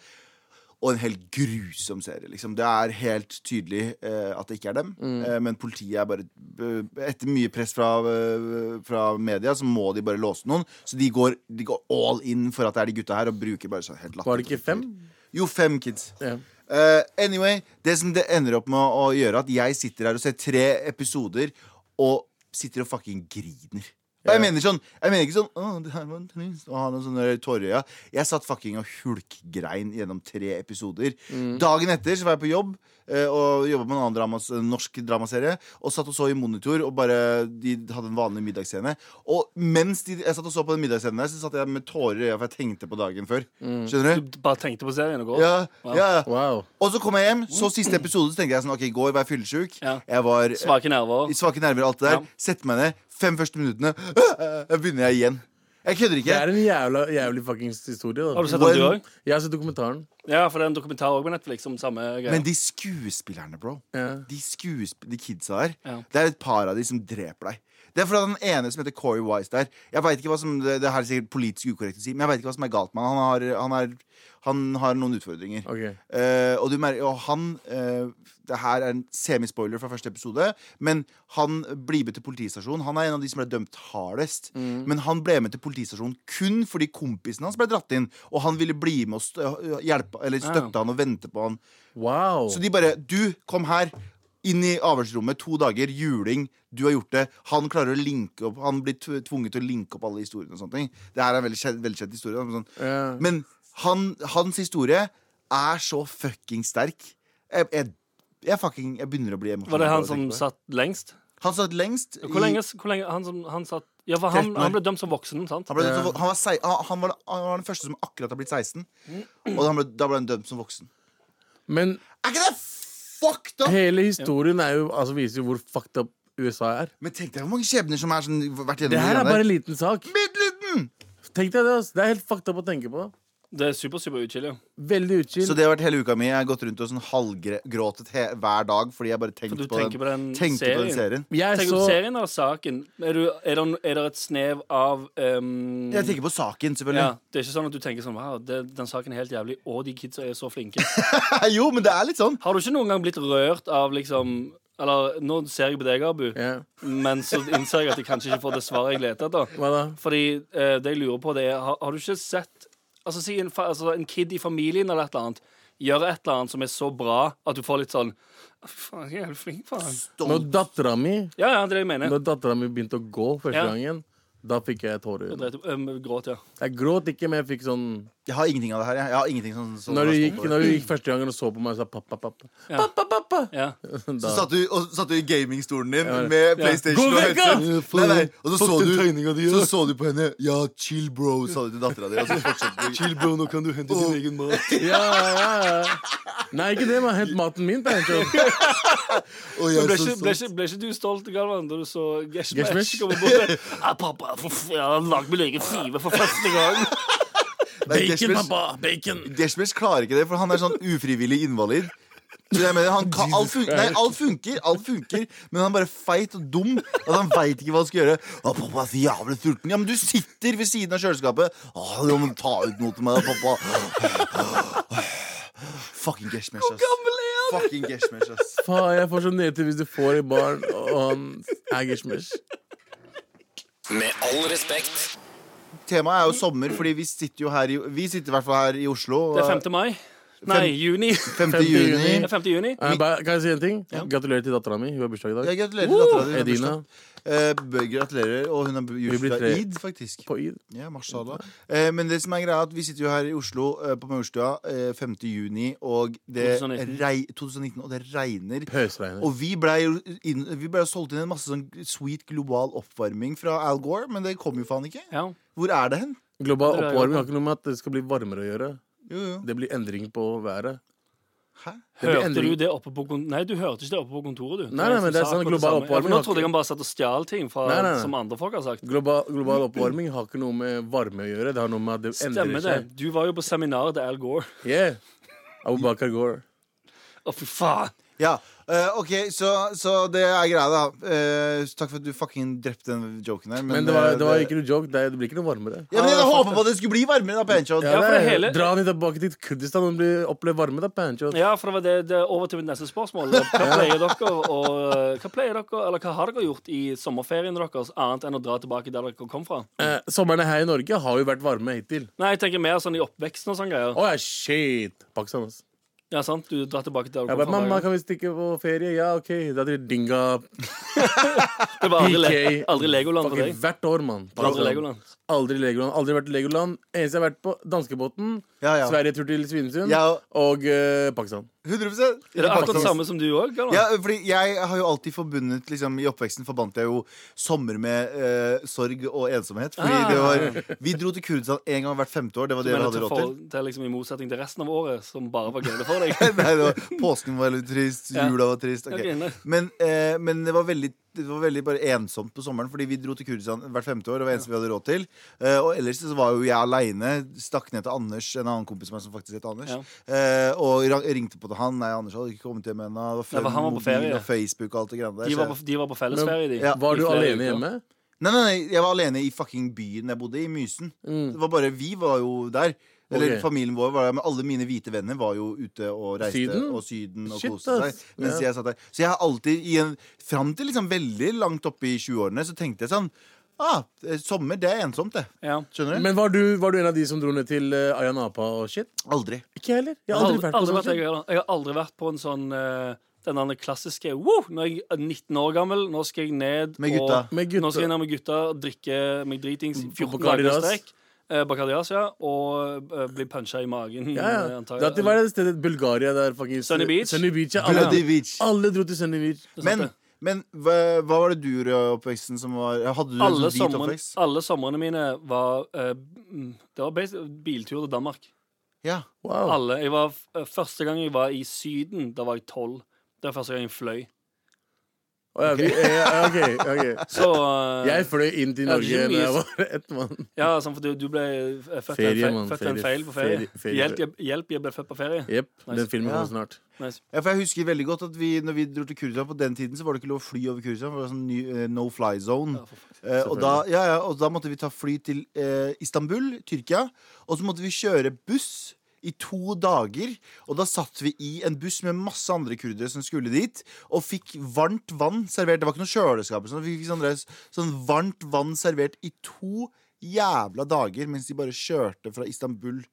[SPEAKER 2] Og en helt grusom serie. Liksom. Det er helt tydelig eh, at det ikke er dem. Eh, men politiet er bare eh, Etter mye press fra, eh, fra media, så må de bare låse noen. Så de går, de går all in for at det er de gutta her, og bruker bare så helt latterlig.
[SPEAKER 3] Var det ikke fem?
[SPEAKER 2] Jo, fem kids.
[SPEAKER 3] Ja.
[SPEAKER 2] Eh, anyway, det som det ender opp med å gjøre, at jeg sitter her og ser tre episoder og sitter og fucking griner. Og jeg mener sånn, jeg mener ikke sånn Åh, det her var trist Og ha noen sånne tårer i øya. Jeg satt fucking og hulkgrein gjennom tre episoder. Dagen etter så var jeg på jobb eh, og jobba med en annen dramas, norsk dramaserie. Og satt og så i monitor, og bare de hadde en vanlig middagsscene. Og mens de, jeg satt og så på den middagsscenen der, så satt jeg med tårer i øya, for jeg tenkte på dagen før. Skjønner Mm. du?
[SPEAKER 5] Du bare tenkte på serien og går?
[SPEAKER 2] Ja,
[SPEAKER 5] Wow.
[SPEAKER 2] ja, ja.
[SPEAKER 3] Wow.
[SPEAKER 2] Og så kom jeg hjem, så siste episode, så tenkte jeg sånn Ok, i går var jeg fyllesyk.
[SPEAKER 5] Ja.
[SPEAKER 2] Jeg var eh,
[SPEAKER 5] Svake nerver.
[SPEAKER 2] i svake nerver og alt det der.
[SPEAKER 5] Ja.
[SPEAKER 2] Sette meg ned. Fem første minuttene, øh, begynner jeg igjen. Jeg kødder
[SPEAKER 3] Det
[SPEAKER 2] ikke.
[SPEAKER 3] er en jævla, jævlig fuckings historie.
[SPEAKER 5] Har du
[SPEAKER 3] Da.
[SPEAKER 5] sett den, du
[SPEAKER 2] When-
[SPEAKER 5] òg?
[SPEAKER 3] Jeg har sett dokumentaren.
[SPEAKER 5] Ja, for det er en dokumentar også på Netflix om samme greie.
[SPEAKER 2] Men de skuespillerne, bro.
[SPEAKER 3] Ja.
[SPEAKER 2] De, skuesp de kidsa her.
[SPEAKER 5] Ja.
[SPEAKER 2] Det er et par av de som dreper deg. Det er fordi den ene som heter Corey Wise der Jeg vet ikke hva som Det, det her er sikkert politisk ukorrekt å si, men jeg vet ikke hva som er galt med han. Han har, han er, han har noen utfordringer.
[SPEAKER 3] Ok.
[SPEAKER 2] Eh, og, du merker, og han eh, Det her er en semispoiler fra første episode. Men han blir med til politistasjonen. Han er en av de som ble dømt hardest.
[SPEAKER 3] Mm.
[SPEAKER 2] Men han ble med til politistasjonen kun fordi kompisen hans ble dratt inn. Og han ville bli med og stø hjelpe, eller
[SPEAKER 3] Ah.
[SPEAKER 2] støtte han og vente på han.
[SPEAKER 3] Wow.
[SPEAKER 2] Så de bare Du, kom her. Inn i avhørsrommet, to dager, juling. Du har gjort det. Han klarer å linke opp Han blir tv- tvunget til å linke opp alle historiene. og sånne ting Det her er en veldig kjent, veldig kjent historie. da, men Sånn.
[SPEAKER 3] Ja.
[SPEAKER 2] Men han, hans historie er så fucking sterk. Jeg, jeg, jeg, fucking, jeg begynner å bli emosjonell.
[SPEAKER 5] Var det
[SPEAKER 2] bare
[SPEAKER 5] han
[SPEAKER 2] av å
[SPEAKER 5] som
[SPEAKER 2] tenke på det.
[SPEAKER 5] satt lengst?
[SPEAKER 2] Han satt lengst.
[SPEAKER 5] Hvor
[SPEAKER 2] i-
[SPEAKER 5] lenge, hvor lenge han, som, han satt Ja, for han,
[SPEAKER 2] 13 år.
[SPEAKER 5] han ble dømt som voksen, sant?
[SPEAKER 2] Han, ble, dømt som- han, var, sei- han, han, var, han var den første som akkurat har blitt 16.
[SPEAKER 5] Mm.
[SPEAKER 2] Og han ble, da ble han dømt som voksen.
[SPEAKER 3] Men
[SPEAKER 2] Er ikke det fucked up?!
[SPEAKER 3] hele historien er jo, altså, viser jo hvor fucked up USA er.
[SPEAKER 2] Men tenk deg hvor mange skjebner som har sånn, vært gjennom
[SPEAKER 3] Det her er
[SPEAKER 2] greiene
[SPEAKER 3] bare
[SPEAKER 2] der.
[SPEAKER 3] en liten sak.
[SPEAKER 2] Bitliten!
[SPEAKER 3] Tenk deg Det ass. Det er helt fucked up å tenke på.
[SPEAKER 5] Det er super, super utchill, jo.
[SPEAKER 3] Veldig utskilt.
[SPEAKER 2] Så det har vært hele uka mi. Jeg har gått rundt og sånn halvgråtet he hver dag fordi jeg bare
[SPEAKER 5] For
[SPEAKER 2] tenkte
[SPEAKER 5] du
[SPEAKER 2] på,
[SPEAKER 5] tenker på den
[SPEAKER 2] tenkte på den serien.
[SPEAKER 5] serien.
[SPEAKER 3] Jeg
[SPEAKER 5] Tenk
[SPEAKER 3] så
[SPEAKER 5] om serien eller saken. Er, du, er, det, er det et snev av ehm,
[SPEAKER 2] Jeg tenker på saken, selvfølgelig.
[SPEAKER 5] ja, Det er ikke sånn at du tenker sånn Wow, det, den saken er helt jævlig, og de kidsa er så flinke.
[SPEAKER 2] jo, men det er litt sånn.
[SPEAKER 5] Har du ikke noen gang blitt rørt av liksom Eller nå ser jeg på deg, Abu,
[SPEAKER 3] Ja.
[SPEAKER 5] men så innser jeg at jeg kanskje ikke får det svaret jeg leter etter.
[SPEAKER 3] Hva da?
[SPEAKER 5] Fordi eh, det jeg lurer på, det er Har, har du ikke sett Altså si en, fa- altså, en kid i familien eller et eller annet gjør et eller annet som er så bra at du får litt sånn Fy faen, jeg er jævlig flink, faen.
[SPEAKER 3] Når dattera mi
[SPEAKER 5] Ja, ja, det er det jeg mener.
[SPEAKER 3] Når dattera mi begynte å gå første
[SPEAKER 5] Ja.
[SPEAKER 3] gangen, da fikk jeg tårer. i øynene.
[SPEAKER 5] Dreit- øhm, Gråt, ja.
[SPEAKER 3] Jeg gråt ikke, men jeg fikk sånn
[SPEAKER 2] Jeg har ingenting av det her. Jeg, jeg har ingenting sånn, sånn
[SPEAKER 3] Når du
[SPEAKER 2] sånn-
[SPEAKER 3] gikk, når du gikk første gangen og så på meg og sa pappa, pappa.
[SPEAKER 5] Ja.
[SPEAKER 3] Pappa, pappa!
[SPEAKER 5] ja.
[SPEAKER 2] Så
[SPEAKER 3] Da.
[SPEAKER 2] satt du, og, satt du i gamingstolen din med PlayStation
[SPEAKER 3] Gå
[SPEAKER 2] og
[SPEAKER 3] vekk, da!
[SPEAKER 2] headset. Nei, nei. Og så så, du, så så du på henne. Ja, chill, bro, sa du til dattera di. Og så fortsatte du.
[SPEAKER 4] Chill, bro, nå kan du hente din egen mat.
[SPEAKER 3] Ja, ja, ja. Nei, ikke det, men hent maten min. da, hent opp.
[SPEAKER 4] Og jeg er
[SPEAKER 5] Men Ble
[SPEAKER 4] så
[SPEAKER 5] ikke, ble, ikke,
[SPEAKER 4] stolt.
[SPEAKER 5] ble ikke du stolt, Galvan, da du så Geshmesh
[SPEAKER 3] Geshmesh?
[SPEAKER 5] komme bort? Ja, pappa, for f jeg har lagd min egen skive for første gang.
[SPEAKER 2] Nei,
[SPEAKER 3] Bacon,
[SPEAKER 2] Deshmesh-
[SPEAKER 3] pappa! Bacon!
[SPEAKER 2] Deshmesh klarer ikke det, for han er sånn ufrivillig invalid. Så jeg mener, han kan, alt, fun nei, alt funker, alt funker, men han er bare feit og dum. Og han veit ikke hva han skal gjøre. Å, pappa er så jævlig sulten. Ja, men du sitter ved siden av kjøleskapet. Å, du må ta ut noe til meg, da, pappa. Fucking Geshmesh, ass. Fucking Geshmesh, ass.
[SPEAKER 3] Faen, jeg får så nedtur hvis du får et barn, og han er gishmish.
[SPEAKER 1] Med all respekt.
[SPEAKER 2] Temaet er jo sommer, fordi vi sitter jo her i, vi sitter i hvert fall her i Oslo.
[SPEAKER 5] Det er 5. mai. Nei, juni. Det
[SPEAKER 2] 5.
[SPEAKER 3] 5.
[SPEAKER 2] juni.
[SPEAKER 3] juni.
[SPEAKER 5] er 5. juni.
[SPEAKER 3] Eh, bare- Kan jeg si en ting? Gratulerer til dattera mi. Hun har bursdag i
[SPEAKER 2] Ja,
[SPEAKER 3] dag.
[SPEAKER 2] gratulerer til dattera di. hun har
[SPEAKER 3] Edina.
[SPEAKER 2] bursdag. Eh, bø- gratulerer, og hun har bu-
[SPEAKER 3] blir
[SPEAKER 2] bursdag
[SPEAKER 3] tre.
[SPEAKER 2] id, faktisk.
[SPEAKER 3] På id.
[SPEAKER 2] Ja, marshala. Eh, men det som er greia er at vi sitter jo her i Oslo eh, på Maurstua eh, 5. juni og det
[SPEAKER 5] 2019.
[SPEAKER 2] rei- 2019, og det regner.
[SPEAKER 3] Pøsregner.
[SPEAKER 2] Og vi ble, jo inn, vi ble jo solgt inn en masse sånn sweet global oppvarming fra Al Gore, men det kom jo faen ikke.
[SPEAKER 5] Ja.
[SPEAKER 2] Hvor er det hen?
[SPEAKER 3] Global
[SPEAKER 5] Det er jo-
[SPEAKER 3] oppvarming har ikke noe med at det skal bli varmere å gjøre.
[SPEAKER 2] Jo, jo.
[SPEAKER 3] Det blir endring på været.
[SPEAKER 2] Hæ?
[SPEAKER 3] Det blir
[SPEAKER 5] Hørte du
[SPEAKER 3] endring.
[SPEAKER 5] det oppe på kontoret? Nei, du hørte ikke det oppe på kontoret, du.
[SPEAKER 3] Nei, nei, men det
[SPEAKER 5] Som
[SPEAKER 3] er sånn
[SPEAKER 5] sa akkurat
[SPEAKER 3] global
[SPEAKER 5] det samme. Ja, for
[SPEAKER 3] oppvarming
[SPEAKER 5] Nå
[SPEAKER 3] har
[SPEAKER 5] trodde
[SPEAKER 3] ikke-
[SPEAKER 5] jeg han bare satt og stjal ting fra,
[SPEAKER 3] Nei, nei, nei.
[SPEAKER 5] som andre folk har sagt.
[SPEAKER 3] Global, global oppvarming har ikke noe med varme å gjøre. Det har noe med at det endrer
[SPEAKER 5] Stemmer det.
[SPEAKER 3] seg.
[SPEAKER 5] Du var jo på seminar til Al Gore.
[SPEAKER 3] Yeah. Abubakar Gore.
[SPEAKER 5] Å, fy faen.
[SPEAKER 2] Ja, Eh, OK, så, så det er greia, da. Eh, så takk for at du fucking drepte den joken der.
[SPEAKER 3] Men det var,
[SPEAKER 2] eh,
[SPEAKER 3] det var ikke noe joke. Det, det blir ikke noe varmere.
[SPEAKER 2] ja, men Jeg hadde håpet på at det skulle bli varmere, da, Panchod.
[SPEAKER 5] Ja, for det hele-
[SPEAKER 3] Dra den tilbake til Kurdistan og bli- oppleve varme, da. Pancho.
[SPEAKER 5] Ja, for det var det, det er over til mitt neste spørsmål. Hva pleier dere å, hva pleier dere, eller hva har dere gjort i sommerferien deres, annet enn å dra tilbake der dere kom fra?
[SPEAKER 3] Eh, sommerne her i Norge har jo vært varme hittil.
[SPEAKER 5] Nei, jeg tenker mer sånn i oppveksten og sånne greier.
[SPEAKER 3] Å ja, shit! Pakistan, ass.
[SPEAKER 5] Ja, sant? Du drar tilbake der du
[SPEAKER 3] Jeg
[SPEAKER 5] kom
[SPEAKER 3] bare,
[SPEAKER 5] fra.
[SPEAKER 3] Mamma,
[SPEAKER 5] Bergen.
[SPEAKER 3] kan vi stikke på ferie? Ja, OK. Da er det dinga
[SPEAKER 5] Det var aldri, le
[SPEAKER 3] PK.
[SPEAKER 5] aldri Legoland for
[SPEAKER 3] fucking
[SPEAKER 5] deg.
[SPEAKER 3] hvert år, mann.
[SPEAKER 5] Aldri
[SPEAKER 2] sånn.
[SPEAKER 5] Legoland.
[SPEAKER 3] Aldri Legoland. Aldri vært i Legoland. Eneste jeg har vært på, danskebåten.
[SPEAKER 2] Ja, ja.
[SPEAKER 3] Sverige-tur til Svinesund.
[SPEAKER 2] Ja.
[SPEAKER 3] Og eh, Pakistan.
[SPEAKER 2] 100
[SPEAKER 5] Er det akkurat
[SPEAKER 3] Pakistan.
[SPEAKER 5] samme som du òg?
[SPEAKER 2] ja, fordi jeg har jo alltid forbundet liksom, I oppveksten forbandt jeg jo sommer med eh, sorg og ensomhet. Fordi
[SPEAKER 5] Ah.
[SPEAKER 2] det var Vi dro til Kurdistan en gang hvert femte år. Det var det vi hadde råd til.
[SPEAKER 5] Det er liksom I motsetning til resten av året, som bare var glede for deg.
[SPEAKER 2] Nei, det var, påsken var litt trist,
[SPEAKER 5] Ja.
[SPEAKER 2] jula var trist. ok.
[SPEAKER 5] Ok, nei.
[SPEAKER 2] Men, eh, men det var veldig det var veldig bare ensomt på sommeren, fordi vi dro til Kurdistan hvert femte år. Det var eneste vi hadde råd til Eh, Og ellers så var jo jeg aleine. Stakk ned til Anders, en annen kompis av meg som faktisk het Anders. eh, og ra- ringte på til han. Nei, Anders hadde ikke kommet hjem ennå. Det var
[SPEAKER 5] Nei,
[SPEAKER 2] før
[SPEAKER 5] for han var på
[SPEAKER 2] mobil
[SPEAKER 5] ferie.
[SPEAKER 2] og Facebook og alt det greiene der.
[SPEAKER 5] De
[SPEAKER 2] så
[SPEAKER 5] var
[SPEAKER 2] jeg-
[SPEAKER 5] på, de var på fellesferie, de.
[SPEAKER 2] Ja.
[SPEAKER 3] Var
[SPEAKER 5] I
[SPEAKER 3] du
[SPEAKER 5] flere uker.
[SPEAKER 3] alene hjemme?
[SPEAKER 2] Nei, nei, nei, jeg var alene i fucking byen jeg bodde i, Mysen. Det var bare, Vi var jo der. Eller
[SPEAKER 3] Mm. Ok.
[SPEAKER 2] familien vår var der, men alle mine hvite venner var jo ute og reiste
[SPEAKER 3] Syden?
[SPEAKER 2] og syden og
[SPEAKER 3] Shit,
[SPEAKER 2] koste seg.
[SPEAKER 3] ass.
[SPEAKER 2] Mens
[SPEAKER 3] Ja.
[SPEAKER 2] jeg satt der. Så jeg har alltid, i en, fram til liksom veldig langt oppe i 20-årene, så tenkte jeg sånn Ah, eh, sommer, det er ensomt, det.
[SPEAKER 5] Ja.
[SPEAKER 2] Skjønner du?
[SPEAKER 3] Men var du, var du en av de som dro ned til eh, Ayia Napa og shit?
[SPEAKER 2] Aldri.
[SPEAKER 3] Ikke jeg heller. Jeg
[SPEAKER 5] Jeg
[SPEAKER 3] har
[SPEAKER 5] har
[SPEAKER 3] aldri
[SPEAKER 5] aldri,
[SPEAKER 3] vært på
[SPEAKER 5] aldri
[SPEAKER 3] sånn
[SPEAKER 5] vært, jeg,
[SPEAKER 3] shit.
[SPEAKER 5] heller. jeg har aldri vært på en sånn eh, den der klassiske Woo! Når jeg er 19 år gammel, nå skal jeg ned
[SPEAKER 2] Med gutta.
[SPEAKER 5] og
[SPEAKER 3] Med gutta.
[SPEAKER 5] Nå skal jeg ned med gutta og drikke meg dritings i 14
[SPEAKER 3] Bacardi
[SPEAKER 5] dager i
[SPEAKER 3] Ras.
[SPEAKER 5] strekk. Eh, Bacardi Ras, ja. Og eh, bli puncha i magen,
[SPEAKER 3] Ja,
[SPEAKER 5] eh,
[SPEAKER 3] ja.
[SPEAKER 5] antagelig.
[SPEAKER 3] Det alltid var det stedet Bulgaria der fucking
[SPEAKER 5] Sunny Beach?
[SPEAKER 3] Sunny Beach ja. alle,
[SPEAKER 2] Bloody beach.
[SPEAKER 3] alle dro til Sunny Beach.
[SPEAKER 5] Det er sant,
[SPEAKER 2] Men,
[SPEAKER 5] det.
[SPEAKER 2] men hva, hva var det du gjorde i oppveksten som var Hadde du en
[SPEAKER 5] alle,
[SPEAKER 2] sånn hvit
[SPEAKER 5] sommeren,
[SPEAKER 2] oppvekst?
[SPEAKER 5] alle somrene mine var eh, mm, Det var basi- biltur til Danmark.
[SPEAKER 2] Ja.
[SPEAKER 3] Wow.
[SPEAKER 5] Alle. Jeg var, f- eh, første gang jeg var i Syden, da var jeg tolv. Det var første gang jeg fløy.
[SPEAKER 3] Å, ja, vi, eh, ja, ok, ok.
[SPEAKER 5] Så eh,
[SPEAKER 3] Jeg fløy inn til
[SPEAKER 5] Ja, det
[SPEAKER 3] Norge
[SPEAKER 5] er
[SPEAKER 3] da
[SPEAKER 5] mye
[SPEAKER 3] jeg var ett mann.
[SPEAKER 5] Ja, sånn, for du, du ble eh, født til
[SPEAKER 3] Ferie,
[SPEAKER 5] en, fe
[SPEAKER 3] mann,
[SPEAKER 5] født til en
[SPEAKER 3] ferie,
[SPEAKER 5] feil på ferie.
[SPEAKER 3] ferie, ferie.
[SPEAKER 5] Hjelp, jeg, hjelp, jeg ble født på ferie.
[SPEAKER 3] Jepp.
[SPEAKER 5] Nice.
[SPEAKER 3] Den filmen
[SPEAKER 2] Ja.
[SPEAKER 3] kommer snart.
[SPEAKER 5] Nice.
[SPEAKER 2] Ja, for jeg husker veldig godt at vi, når vi dro til Kurdistan På den tiden så var det ikke lov å fly over Kurdistan. for Det var sånn ny, eh, no fly zone.
[SPEAKER 5] Ja, for faen.
[SPEAKER 2] Eh, og, da, ja, ja, og da måtte vi ta fly til eh, Istanbul, Tyrkia. Og så måtte vi kjøre buss i to dager. Og da satt vi i en buss med masse andre kurdere som skulle dit, og fikk varmt vann servert. Det var ikke noe kjøleskap. Sånn. Vi fikk sånn, der- sånn varmt vann servert i to jævla dager mens de bare kjørte fra Istanbul.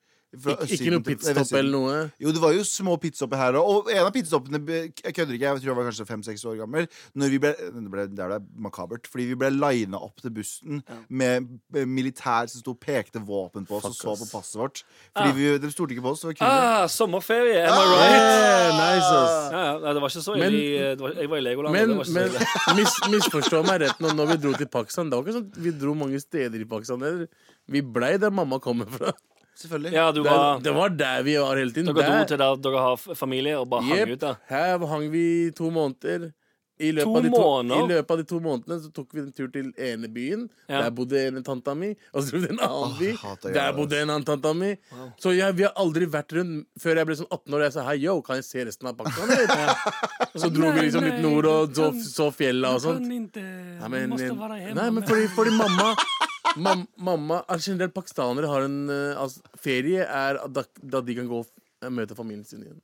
[SPEAKER 2] Fra
[SPEAKER 3] Ik ikke noe pitstop eller noe.
[SPEAKER 2] jo, det var jo små pizzastopper her og- Og en av pizzastoppene, jeg kødder ikke, jeg tror jeg var kanskje fem-seks år gammel Når vi ble, det ble, det er makabert Fordi vi ble linet opp til bussen Med eh, militær som stod og pekte våpen på oss Og
[SPEAKER 3] Fuck,
[SPEAKER 2] så
[SPEAKER 3] ass.
[SPEAKER 2] på passet vårt Fordi
[SPEAKER 5] Ah.
[SPEAKER 2] vi, de stolte ikke på oss, det var kunder
[SPEAKER 5] Ah, sommerferie! Am I right?
[SPEAKER 3] Yeah, nice, ass.
[SPEAKER 5] Ja, ja, nei, det var ikke så
[SPEAKER 3] Men-
[SPEAKER 5] ille. i- det var- Jeg var i Legoland. og
[SPEAKER 3] Men,
[SPEAKER 5] det var ikke så
[SPEAKER 3] men
[SPEAKER 5] ille.
[SPEAKER 3] mis, misforstå meg rett nå, når vi dro til Pakistan Det var ikke sånn at vi dro mange steder i Pakistan. eller? Vi blei der mamma kommer fra.
[SPEAKER 2] Selvfølgelig
[SPEAKER 5] Ja, du
[SPEAKER 3] Det,
[SPEAKER 5] var,
[SPEAKER 3] det var der vi var hele
[SPEAKER 5] dere
[SPEAKER 3] tiden.
[SPEAKER 5] dro
[SPEAKER 3] Der-
[SPEAKER 5] til der dere har f- familie, og bare hang ut der.
[SPEAKER 3] Jepp. Her hang vi i to måneder. I løpet,
[SPEAKER 5] To
[SPEAKER 3] av de to, I
[SPEAKER 5] måneder?
[SPEAKER 3] løpet av de to månedene så tok vi en tur til ene byen.
[SPEAKER 5] Ja.
[SPEAKER 3] Der bodde en tanta mi. Og så dro vi til en annen by.
[SPEAKER 2] jeg hater å gjøre
[SPEAKER 3] Der
[SPEAKER 2] det,
[SPEAKER 3] bodde en annen tanta mi. Så jeg, vi har aldri vært rundt før jeg ble sånn 18 år og jeg sa hei, yo, kan jeg se resten av Pakistan? eller?» Og så dro vi liksom litt nord og så, så fjella og sånt. Nei, men, nei, men fordi, fordi mamma mam, Mamma, altså generelt pakistanere har en eh, altså, Ferie er at da, da de kan gå og f- møte familien sin igjen.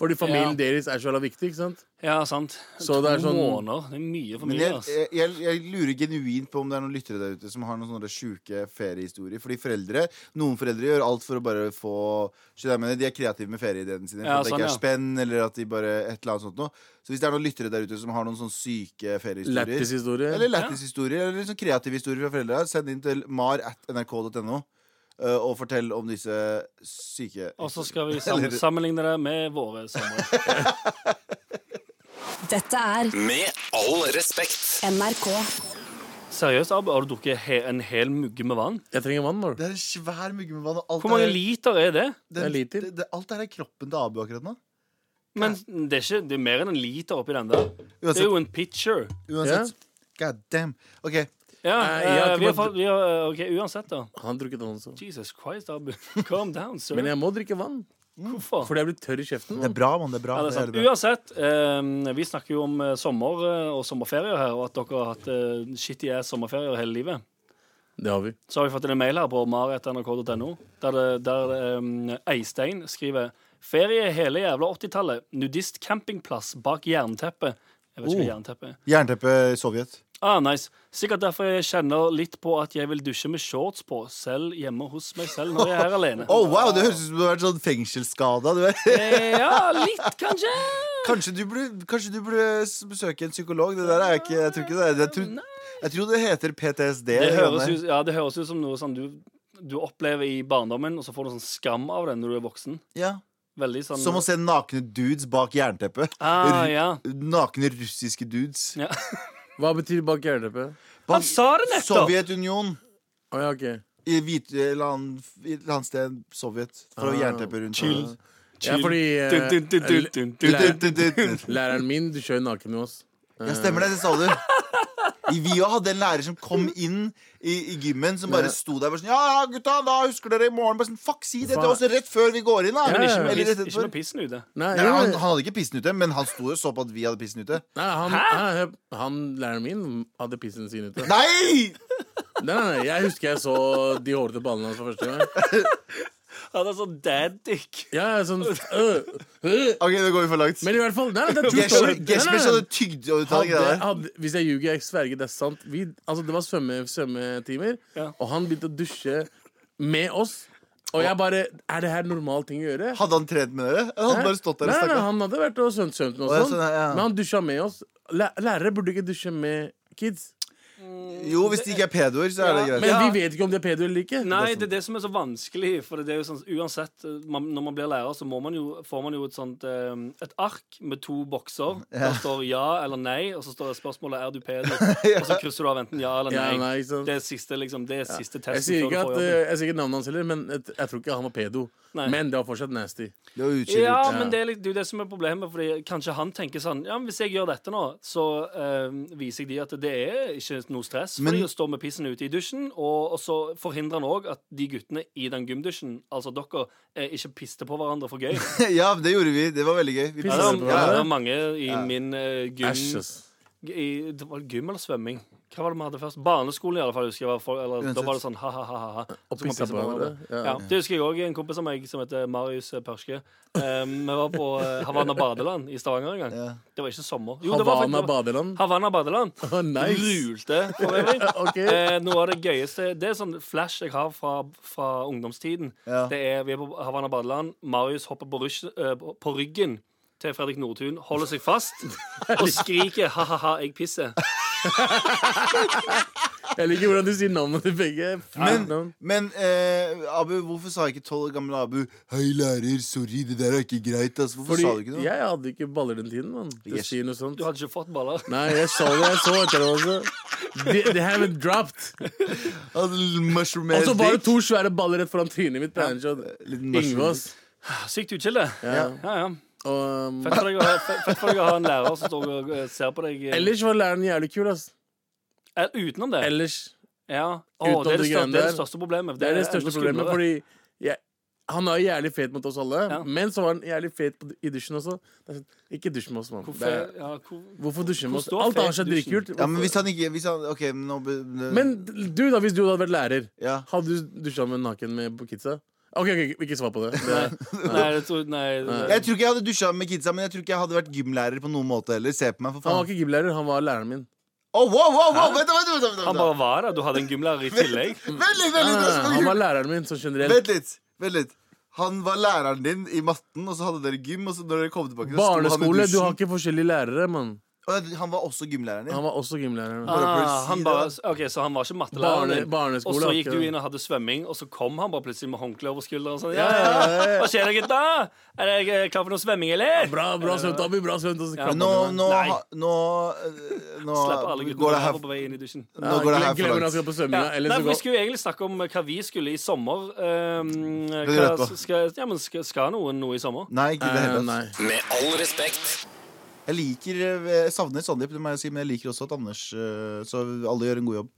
[SPEAKER 3] Fordi familien deres er så jævla viktig, ikke sant?
[SPEAKER 5] Ja, sant.
[SPEAKER 3] Så det er
[SPEAKER 5] To
[SPEAKER 3] sånn-
[SPEAKER 5] måneder. Det er mye
[SPEAKER 2] Men
[SPEAKER 5] familie, altså.
[SPEAKER 2] jeg, jeg,
[SPEAKER 5] ass.
[SPEAKER 2] jeg, jeg lurer genuint på om det er noen lyttere der ute som har noen sånne sjuke feriehistorier. Fordi foreldre, noen foreldre gjør alt for å bare få skjønner du hva jeg mener, De er kreative med ferieideene sine. For
[SPEAKER 5] Ja,
[SPEAKER 2] at det
[SPEAKER 5] sånn,
[SPEAKER 2] ikke er
[SPEAKER 5] ja.
[SPEAKER 2] spenn, eller at de bare et eller annet sånt noe. Så hvis det er noen lyttere der ute som har noen sånne syke feriehistorier,
[SPEAKER 3] Lættis-historie.
[SPEAKER 2] eller lættishistorier, eller sånn kreative historier fra foreldre, send inn til mar at nrk.no. eh, Og fortell om disse syke
[SPEAKER 5] Og så skal vi sam sammenligne det med våre somre.
[SPEAKER 6] Dette er
[SPEAKER 1] Med all respekt.
[SPEAKER 6] NRK.
[SPEAKER 5] Seriøst, Abu, har du drukket he en hel mugge med vann?
[SPEAKER 3] Jeg trenger vann, mor.
[SPEAKER 2] Det er en svær mugge med vann. og alt
[SPEAKER 5] Hvor mange
[SPEAKER 2] er-
[SPEAKER 5] liter er det?
[SPEAKER 2] den-
[SPEAKER 3] Det er liter.
[SPEAKER 2] det- det- Alt er i kroppen til Abu akkurat nå.
[SPEAKER 5] Men det er, ikke, det er mer enn en liter oppi den der. Det
[SPEAKER 2] Uansett.
[SPEAKER 5] er jo en pitcher.
[SPEAKER 2] Uansett. God damn. OK.
[SPEAKER 5] Ja,
[SPEAKER 3] Nei, jeg har
[SPEAKER 5] eh,
[SPEAKER 3] ikke
[SPEAKER 5] vi har
[SPEAKER 3] bare-
[SPEAKER 5] fått vi har, eh, OK, uansett, da.
[SPEAKER 3] Han drukket vann også.
[SPEAKER 5] Jesus Christ, Abu. Calm down, sir.
[SPEAKER 3] Men jeg må drikke vann.
[SPEAKER 5] Hvorfor?
[SPEAKER 3] Fordi jeg blir tørr i kjeften.
[SPEAKER 2] Det er bra, mann. Det er bra.
[SPEAKER 5] Ja, det er
[SPEAKER 2] Det er
[SPEAKER 5] sant.
[SPEAKER 2] veldig bra.
[SPEAKER 5] Uansett, eh, vi snakker jo om eh, sommer eh, og sommerferier her, og at dere har hatt eh, shitty ass sommerferier hele livet.
[SPEAKER 3] Det har vi.
[SPEAKER 5] Så har vi fått en mail her på maret.nrk.no, der, det- der eh, Eistein skriver Ferie hele jævla 80-tallet. Nudist campingplass bak jernteppet. Jeg vet ikke hva jernteppet er.
[SPEAKER 2] Jernteppe Sovjet.
[SPEAKER 5] Ah, nice. Sikkert derfor jeg kjenner litt på at jeg vil dusje med shorts på, selv hjemme hos meg selv når jeg er her alene.
[SPEAKER 2] Oh, wow, Det høres ut som du har vært sånn fengselsskada. du er-
[SPEAKER 5] Eh, Ja, litt, kanskje.
[SPEAKER 2] Kanskje du burde, kanskje du burde s- besøke en psykolog. Det der er ikke Jeg tror ikke det er Jeg tror, jeg tror det heter PTSD.
[SPEAKER 5] Det høres,
[SPEAKER 2] greiene.
[SPEAKER 5] ut, ja, det høres ut som noe sånn du, du opplever i barndommen, og så får du sånn skam av det når du er voksen.
[SPEAKER 2] ja.
[SPEAKER 5] Veldig sånn
[SPEAKER 2] Som å se nakne dudes bak jernteppet.
[SPEAKER 5] ah,
[SPEAKER 2] Ru-
[SPEAKER 5] ja.
[SPEAKER 2] Nakne russiske dudes.
[SPEAKER 5] ja.
[SPEAKER 3] Hva betyr bak jernteppet?
[SPEAKER 5] Han sa det nettopp!
[SPEAKER 2] Sovjetunionen.
[SPEAKER 3] Å ja, OK.
[SPEAKER 2] I hvit, eller annen- i et eller annet sted Sovjet. Fra
[SPEAKER 3] Ah,
[SPEAKER 2] jernteppet rundt.
[SPEAKER 5] chill.
[SPEAKER 3] Ja, fordi eh,
[SPEAKER 5] Dun, dun, dun, dun, dun, dun.
[SPEAKER 2] Tut, tut, tut, tut.
[SPEAKER 3] Læreren min du kjører naken med oss.
[SPEAKER 2] Ja, stemmer det. Det sa du. I- Vi òg hadde en lærer som kom inn i, i gymmen som bare
[SPEAKER 3] Ja.
[SPEAKER 2] sto der og var sånn Ja, ja, gutta, da husker dere i morgen. Bare sånn, Fuck, si det til
[SPEAKER 3] Faen.
[SPEAKER 2] oss rett før vi går inn, da.
[SPEAKER 3] Ja, men ikke med
[SPEAKER 2] Eller
[SPEAKER 5] Piss,
[SPEAKER 2] rett
[SPEAKER 5] ikke
[SPEAKER 2] etterpå.
[SPEAKER 5] med pissen ute.
[SPEAKER 3] Nei,
[SPEAKER 2] Nei,
[SPEAKER 3] jo,
[SPEAKER 2] han, han hadde ikke pissen ute, men han sto og så på at vi hadde pissen ute.
[SPEAKER 3] nei han, han, hør- han læreren min hadde pissen sin ute. Nei,
[SPEAKER 2] Nei!
[SPEAKER 3] nei, nei, Jeg husker jeg så de hårete ballene hans for første gang.
[SPEAKER 5] Han er sånn dad dick.
[SPEAKER 3] Ja, jeg er sånn øh, øh.
[SPEAKER 2] Ok, nå går vi for langt.
[SPEAKER 3] Men i hvert fall Nei, nei, det er true story. Nei, nei,
[SPEAKER 2] Geshmish
[SPEAKER 3] nei.
[SPEAKER 2] hadde tygd og
[SPEAKER 3] Hadde-
[SPEAKER 2] uttalt greier der.
[SPEAKER 3] hadde- Hvis jeg ljuger, jeg sverger, det er sant. Vi, altså, det var svømme, svømmetimer,
[SPEAKER 5] Ja.
[SPEAKER 3] og han begynte å dusje med oss. Og jeg bare Er det her normal ting å gjøre?
[SPEAKER 2] Hadde han trent med dere? Han hadde bare stått der og
[SPEAKER 3] Nei, nei,
[SPEAKER 2] snakka.
[SPEAKER 3] han hadde vært og svømt, svømt med oss,
[SPEAKER 2] Å, ja,
[SPEAKER 3] sånn.
[SPEAKER 2] sånn, ja.
[SPEAKER 3] men han dusja med oss. Læ lærere burde ikke dusje med kids.
[SPEAKER 2] Jo, hvis de ikke er pedoer, så er det
[SPEAKER 5] Ja,
[SPEAKER 2] greit.
[SPEAKER 3] Men
[SPEAKER 5] Ja.
[SPEAKER 3] vi vet ikke om det er sånn. pedo eller ikke.
[SPEAKER 5] Nei, det er det som er så vanskelig. For det er jo sånn, uansett, man, Når man blir lærer, så må man jo, får man jo et sånt eh, Et ark med to bokser. Der står ja eller nei, og så står det spørsmålet er du pedo. Og så krysser du av enten ja eller nei.
[SPEAKER 3] Ja, nei, ikke sant.
[SPEAKER 5] Det er siste, liksom, det er siste
[SPEAKER 3] jeg
[SPEAKER 5] testen
[SPEAKER 3] sier ikke,
[SPEAKER 5] før
[SPEAKER 3] at,
[SPEAKER 5] du får
[SPEAKER 3] eh,
[SPEAKER 5] jobben.
[SPEAKER 3] jeg sier ikke navnet hans heller, men et- jeg tror ikke han var pedo.
[SPEAKER 5] Nei.
[SPEAKER 3] Men det var fortsatt nasty.
[SPEAKER 2] Det var utskilt.
[SPEAKER 5] Ja, men det er litt- det er jo det som er problemet. Fordi Kanskje han tenker sånn Ja, men Hvis jeg gjør dette nå, så eh, viser jeg de at det er ikke noe stress.
[SPEAKER 2] Men-
[SPEAKER 5] Men, fordi å stå med pissen ute i dusjen, og, og så forhindrer han òg at de guttene i den gymdusjen, altså dere, eh, ikke piste på hverandre for gøy.
[SPEAKER 2] ja, det gjorde vi. Det var veldig gøy. Vi
[SPEAKER 5] Ja,
[SPEAKER 3] Pisser
[SPEAKER 5] det,
[SPEAKER 3] på
[SPEAKER 5] var,
[SPEAKER 3] hverandre?
[SPEAKER 5] det var mange i min eh, gym
[SPEAKER 3] Æsj, ass.
[SPEAKER 5] i, Det var gym eller svømming? Hva var det vi hadde først? Barneskolen, i alle fall. husker jeg var folk, eller, Da var det sånn ha-ha-ha.
[SPEAKER 3] Og pissa på hverandre. Ja.
[SPEAKER 5] Ja, det husker jeg òg. En kompis av meg som heter Marius eh, Pørske. Eh, vi var på eh, Havanna badeland i Stavanger en gang.
[SPEAKER 2] Ja.
[SPEAKER 5] Det var ikke sommer. Jo, det var
[SPEAKER 3] Havana
[SPEAKER 5] faktisk-
[SPEAKER 3] badeland.
[SPEAKER 5] Havanna badeland.
[SPEAKER 3] Å, nice.
[SPEAKER 5] Rulte for øvrig.
[SPEAKER 3] Ok.
[SPEAKER 5] Eh, noe av det gøyeste Det er sånn flash jeg har fra, fra ungdomstiden.
[SPEAKER 2] Ja.
[SPEAKER 5] Det er, Vi er på Havanna badeland. Marius hopper på, rysj, eh, på ryggen til Fredrik Nordtun, holder seg fast og skriker 'ha-ha-ha, jeg pisser'.
[SPEAKER 3] Jeg liker hvordan du sier navnet til begge.
[SPEAKER 2] Men,
[SPEAKER 3] Navn.
[SPEAKER 2] men eh, Abu, hvorfor sa ikke tolv år gamle Abu Hei, lærer, sorry, det der er ikke greit. Altså. Hvorfor sa du ikke
[SPEAKER 3] Fordi
[SPEAKER 2] noe?
[SPEAKER 3] jeg hadde ikke baller den tiden, mann. Det
[SPEAKER 2] Yes.
[SPEAKER 3] sier noe sånt.
[SPEAKER 5] Du hadde ikke fått baller.
[SPEAKER 3] Nei, jeg så det. Jeg så etter det også. They, they haven't dropped.
[SPEAKER 2] Altså, mushroom
[SPEAKER 3] Og så
[SPEAKER 2] ass
[SPEAKER 3] var det
[SPEAKER 2] dick.
[SPEAKER 3] to svære baller rett foran trynet mitt. på en shot.
[SPEAKER 2] Liten mushroom
[SPEAKER 3] Yngvås.
[SPEAKER 5] Sykt utskille.
[SPEAKER 3] Ja.
[SPEAKER 5] Ja, ja.
[SPEAKER 3] Og, um,
[SPEAKER 5] Fett for deg å ha- fett for deg å ha en lærer som står og eh, ser på deg. eh,
[SPEAKER 3] ellers var læreren jævlig kul, ass.
[SPEAKER 5] eh, utenom det.
[SPEAKER 3] Ellers.
[SPEAKER 5] Ja. Å,
[SPEAKER 3] Utenom
[SPEAKER 5] det, er
[SPEAKER 3] de
[SPEAKER 5] det, største, det er
[SPEAKER 3] greiene der.
[SPEAKER 5] det største problemet.
[SPEAKER 3] Det er det
[SPEAKER 5] enda
[SPEAKER 3] største problemet,
[SPEAKER 5] skumlere.
[SPEAKER 3] fordi jeg, han er jævlig fet mot oss alle.
[SPEAKER 5] Ja.
[SPEAKER 3] Men så var han jævlig fet på, i dusjen også. Det er sånn, Ikke dusj med oss, mann.
[SPEAKER 5] Hvorfor,
[SPEAKER 3] Det er-
[SPEAKER 5] ja, hvor,
[SPEAKER 3] Hvorfor dusje med oss?
[SPEAKER 5] Hvorfor står
[SPEAKER 3] Alt har
[SPEAKER 5] fet
[SPEAKER 3] seg
[SPEAKER 5] dusjen?
[SPEAKER 3] dritkult.
[SPEAKER 2] Ja, men hvis han ikke hvis han, Ok, men nå be- ne-
[SPEAKER 3] Men du, da, hvis du hadde vært lærer,
[SPEAKER 2] ja.
[SPEAKER 3] hadde du dusja med naken med på kidsa? OK, ok, ikke svar på det. det
[SPEAKER 5] nei, jeg tror, nei,
[SPEAKER 2] Jeg tror ikke jeg hadde dusja med kidsa, men jeg tror ikke jeg hadde vært gymlærer på noen måte heller. Se på meg, for
[SPEAKER 3] han var
[SPEAKER 2] faen.
[SPEAKER 3] ikke gymlærer, han var læreren min.
[SPEAKER 2] Å, wow, wow, wow, vent, vent, vent, vent,
[SPEAKER 5] Han
[SPEAKER 2] vent,
[SPEAKER 5] bare var der. Du hadde en gymlærer i tillegg.
[SPEAKER 2] vent, vent litt,
[SPEAKER 3] Nei,
[SPEAKER 2] vent
[SPEAKER 3] nei, nei, Ah, han
[SPEAKER 2] litt,
[SPEAKER 3] var læreren min, sånn generelt.
[SPEAKER 2] vent litt, vent litt. Han var læreren din i matten, og så hadde dere gym. Og så når dere kom tilbake så sto han i
[SPEAKER 3] Barneskole, du
[SPEAKER 2] dusjen.
[SPEAKER 3] har ikke forskjellige lærere, mann.
[SPEAKER 2] Å, Han var også gymlæreren din.
[SPEAKER 3] Han var også gymlæreren.
[SPEAKER 2] Bare for å
[SPEAKER 5] Ah,
[SPEAKER 2] si
[SPEAKER 5] han
[SPEAKER 2] det,
[SPEAKER 5] bare,
[SPEAKER 2] da.
[SPEAKER 5] ok, Så han var ikke
[SPEAKER 3] Barne-
[SPEAKER 5] mattelæreren din.
[SPEAKER 3] barneskole,
[SPEAKER 5] Og så
[SPEAKER 3] var
[SPEAKER 5] gikk
[SPEAKER 3] ikke
[SPEAKER 5] du
[SPEAKER 3] det.
[SPEAKER 5] inn og hadde svømming, og så kom han bare plutselig med håndkle over skulderen. Og sånn, ja, ja, ja. Hva skjer da, gutta? Er dere eh, klar for noe svømming, eller?
[SPEAKER 3] Bra, bra svømt, Abu. Bra svømt. og så
[SPEAKER 5] Ja.
[SPEAKER 3] klapper
[SPEAKER 2] Nå,
[SPEAKER 3] han.
[SPEAKER 2] nå,
[SPEAKER 5] Nei.
[SPEAKER 2] ha- nå, eh, nå
[SPEAKER 5] Slapp alle
[SPEAKER 2] går
[SPEAKER 5] guttene
[SPEAKER 2] det her,
[SPEAKER 5] av på vei inn i dusjen.
[SPEAKER 2] nå går det her
[SPEAKER 3] Glem-
[SPEAKER 2] for
[SPEAKER 3] glemmer han skal
[SPEAKER 2] langt.
[SPEAKER 3] på svømminga.
[SPEAKER 5] Ja.
[SPEAKER 3] eller
[SPEAKER 5] Nei, for
[SPEAKER 3] så
[SPEAKER 5] vi
[SPEAKER 3] går-
[SPEAKER 5] skulle jo egentlig snakke om eh, hva vi skulle i sommer. Ehm,
[SPEAKER 2] rett
[SPEAKER 5] hva,
[SPEAKER 2] på.
[SPEAKER 5] skal, ja, men skal, skal noen noe i sommer?
[SPEAKER 2] Nei, ikke i det
[SPEAKER 3] Eh,
[SPEAKER 2] hele
[SPEAKER 3] Nei.
[SPEAKER 2] tatt.
[SPEAKER 1] Med all respekt.
[SPEAKER 2] Jeg liker, eh, jeg savner Sandeep, det må jeg si, men jeg liker også at Anders eh, Så alle gjør en god jobb.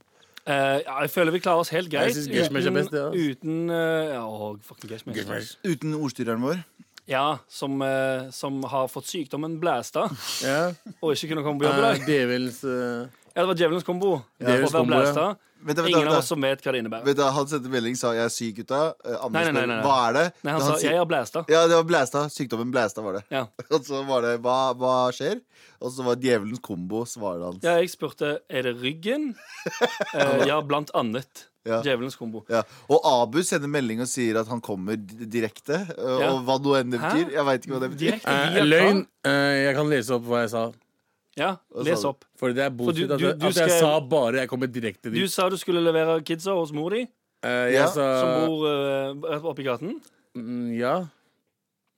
[SPEAKER 5] Eh, ja, jeg føler vi klarer oss helt greit
[SPEAKER 3] Jeg synes Geshmesh er best, det, altså.
[SPEAKER 5] uten eh, ja, å, fucking Geshmesh.
[SPEAKER 2] Uten ordstyreren vår.
[SPEAKER 5] Ja, som, eh, som har fått sykdommen blæsta
[SPEAKER 3] Ja.
[SPEAKER 5] og ikke kunne komme på jobb i
[SPEAKER 3] Eh,
[SPEAKER 5] dag.
[SPEAKER 3] Djevelens eh,
[SPEAKER 5] Ja, det var djevelens kombo. å
[SPEAKER 3] Djevelens
[SPEAKER 5] være
[SPEAKER 3] kombo, ja.
[SPEAKER 5] blæsta.
[SPEAKER 2] Vent, da, vent, da,
[SPEAKER 5] Ingen
[SPEAKER 2] vent,
[SPEAKER 5] av
[SPEAKER 2] da.
[SPEAKER 5] oss som vet hva det innebærer.
[SPEAKER 2] Vet du, han sendte melding sa 'jeg er syk, gutta'. Eh, Anders
[SPEAKER 5] Nei, nei, nei,
[SPEAKER 2] spør,
[SPEAKER 5] nei.
[SPEAKER 2] hva er det?
[SPEAKER 5] Nei, han
[SPEAKER 2] Da
[SPEAKER 5] sa
[SPEAKER 2] sier-
[SPEAKER 5] 'jeg har blæsta'.
[SPEAKER 2] ja, det var blæsta. Sykdommen blæsta var det.
[SPEAKER 5] Ja.
[SPEAKER 2] Og så var det 'hva, hva skjer?' Og så var djevelens kombo svaret hans.
[SPEAKER 5] ja, jeg spurte 'er det ryggen'? Eh, ja, blant annet.
[SPEAKER 2] Ja.
[SPEAKER 5] Djevelens kombo.
[SPEAKER 2] Ja. Og Abu sender melding og sier at han kommer d- direkte. øh,
[SPEAKER 5] Ja.
[SPEAKER 2] Og hva nå enn det
[SPEAKER 5] Hæ?
[SPEAKER 2] betyr. Jeg vet ikke hva det betyr.
[SPEAKER 5] Direkte via
[SPEAKER 3] Løgn.
[SPEAKER 5] hva?
[SPEAKER 3] Eh, jeg kan lese opp hva jeg sa.
[SPEAKER 5] Ja,
[SPEAKER 2] Hva
[SPEAKER 5] les
[SPEAKER 2] sa du?
[SPEAKER 5] opp.
[SPEAKER 3] For det er bullshit
[SPEAKER 5] du-
[SPEAKER 3] at,
[SPEAKER 5] du-
[SPEAKER 3] jeg-
[SPEAKER 5] du
[SPEAKER 3] at jeg
[SPEAKER 5] skal-
[SPEAKER 3] sa bare jeg kommer direkte
[SPEAKER 5] Du
[SPEAKER 3] dit.
[SPEAKER 5] sa du skulle levere kidsa hos mor di,
[SPEAKER 3] Eh, jeg
[SPEAKER 2] Ja,
[SPEAKER 3] sa
[SPEAKER 5] som bor eh, rett oppi gaten.
[SPEAKER 3] mm, Ja.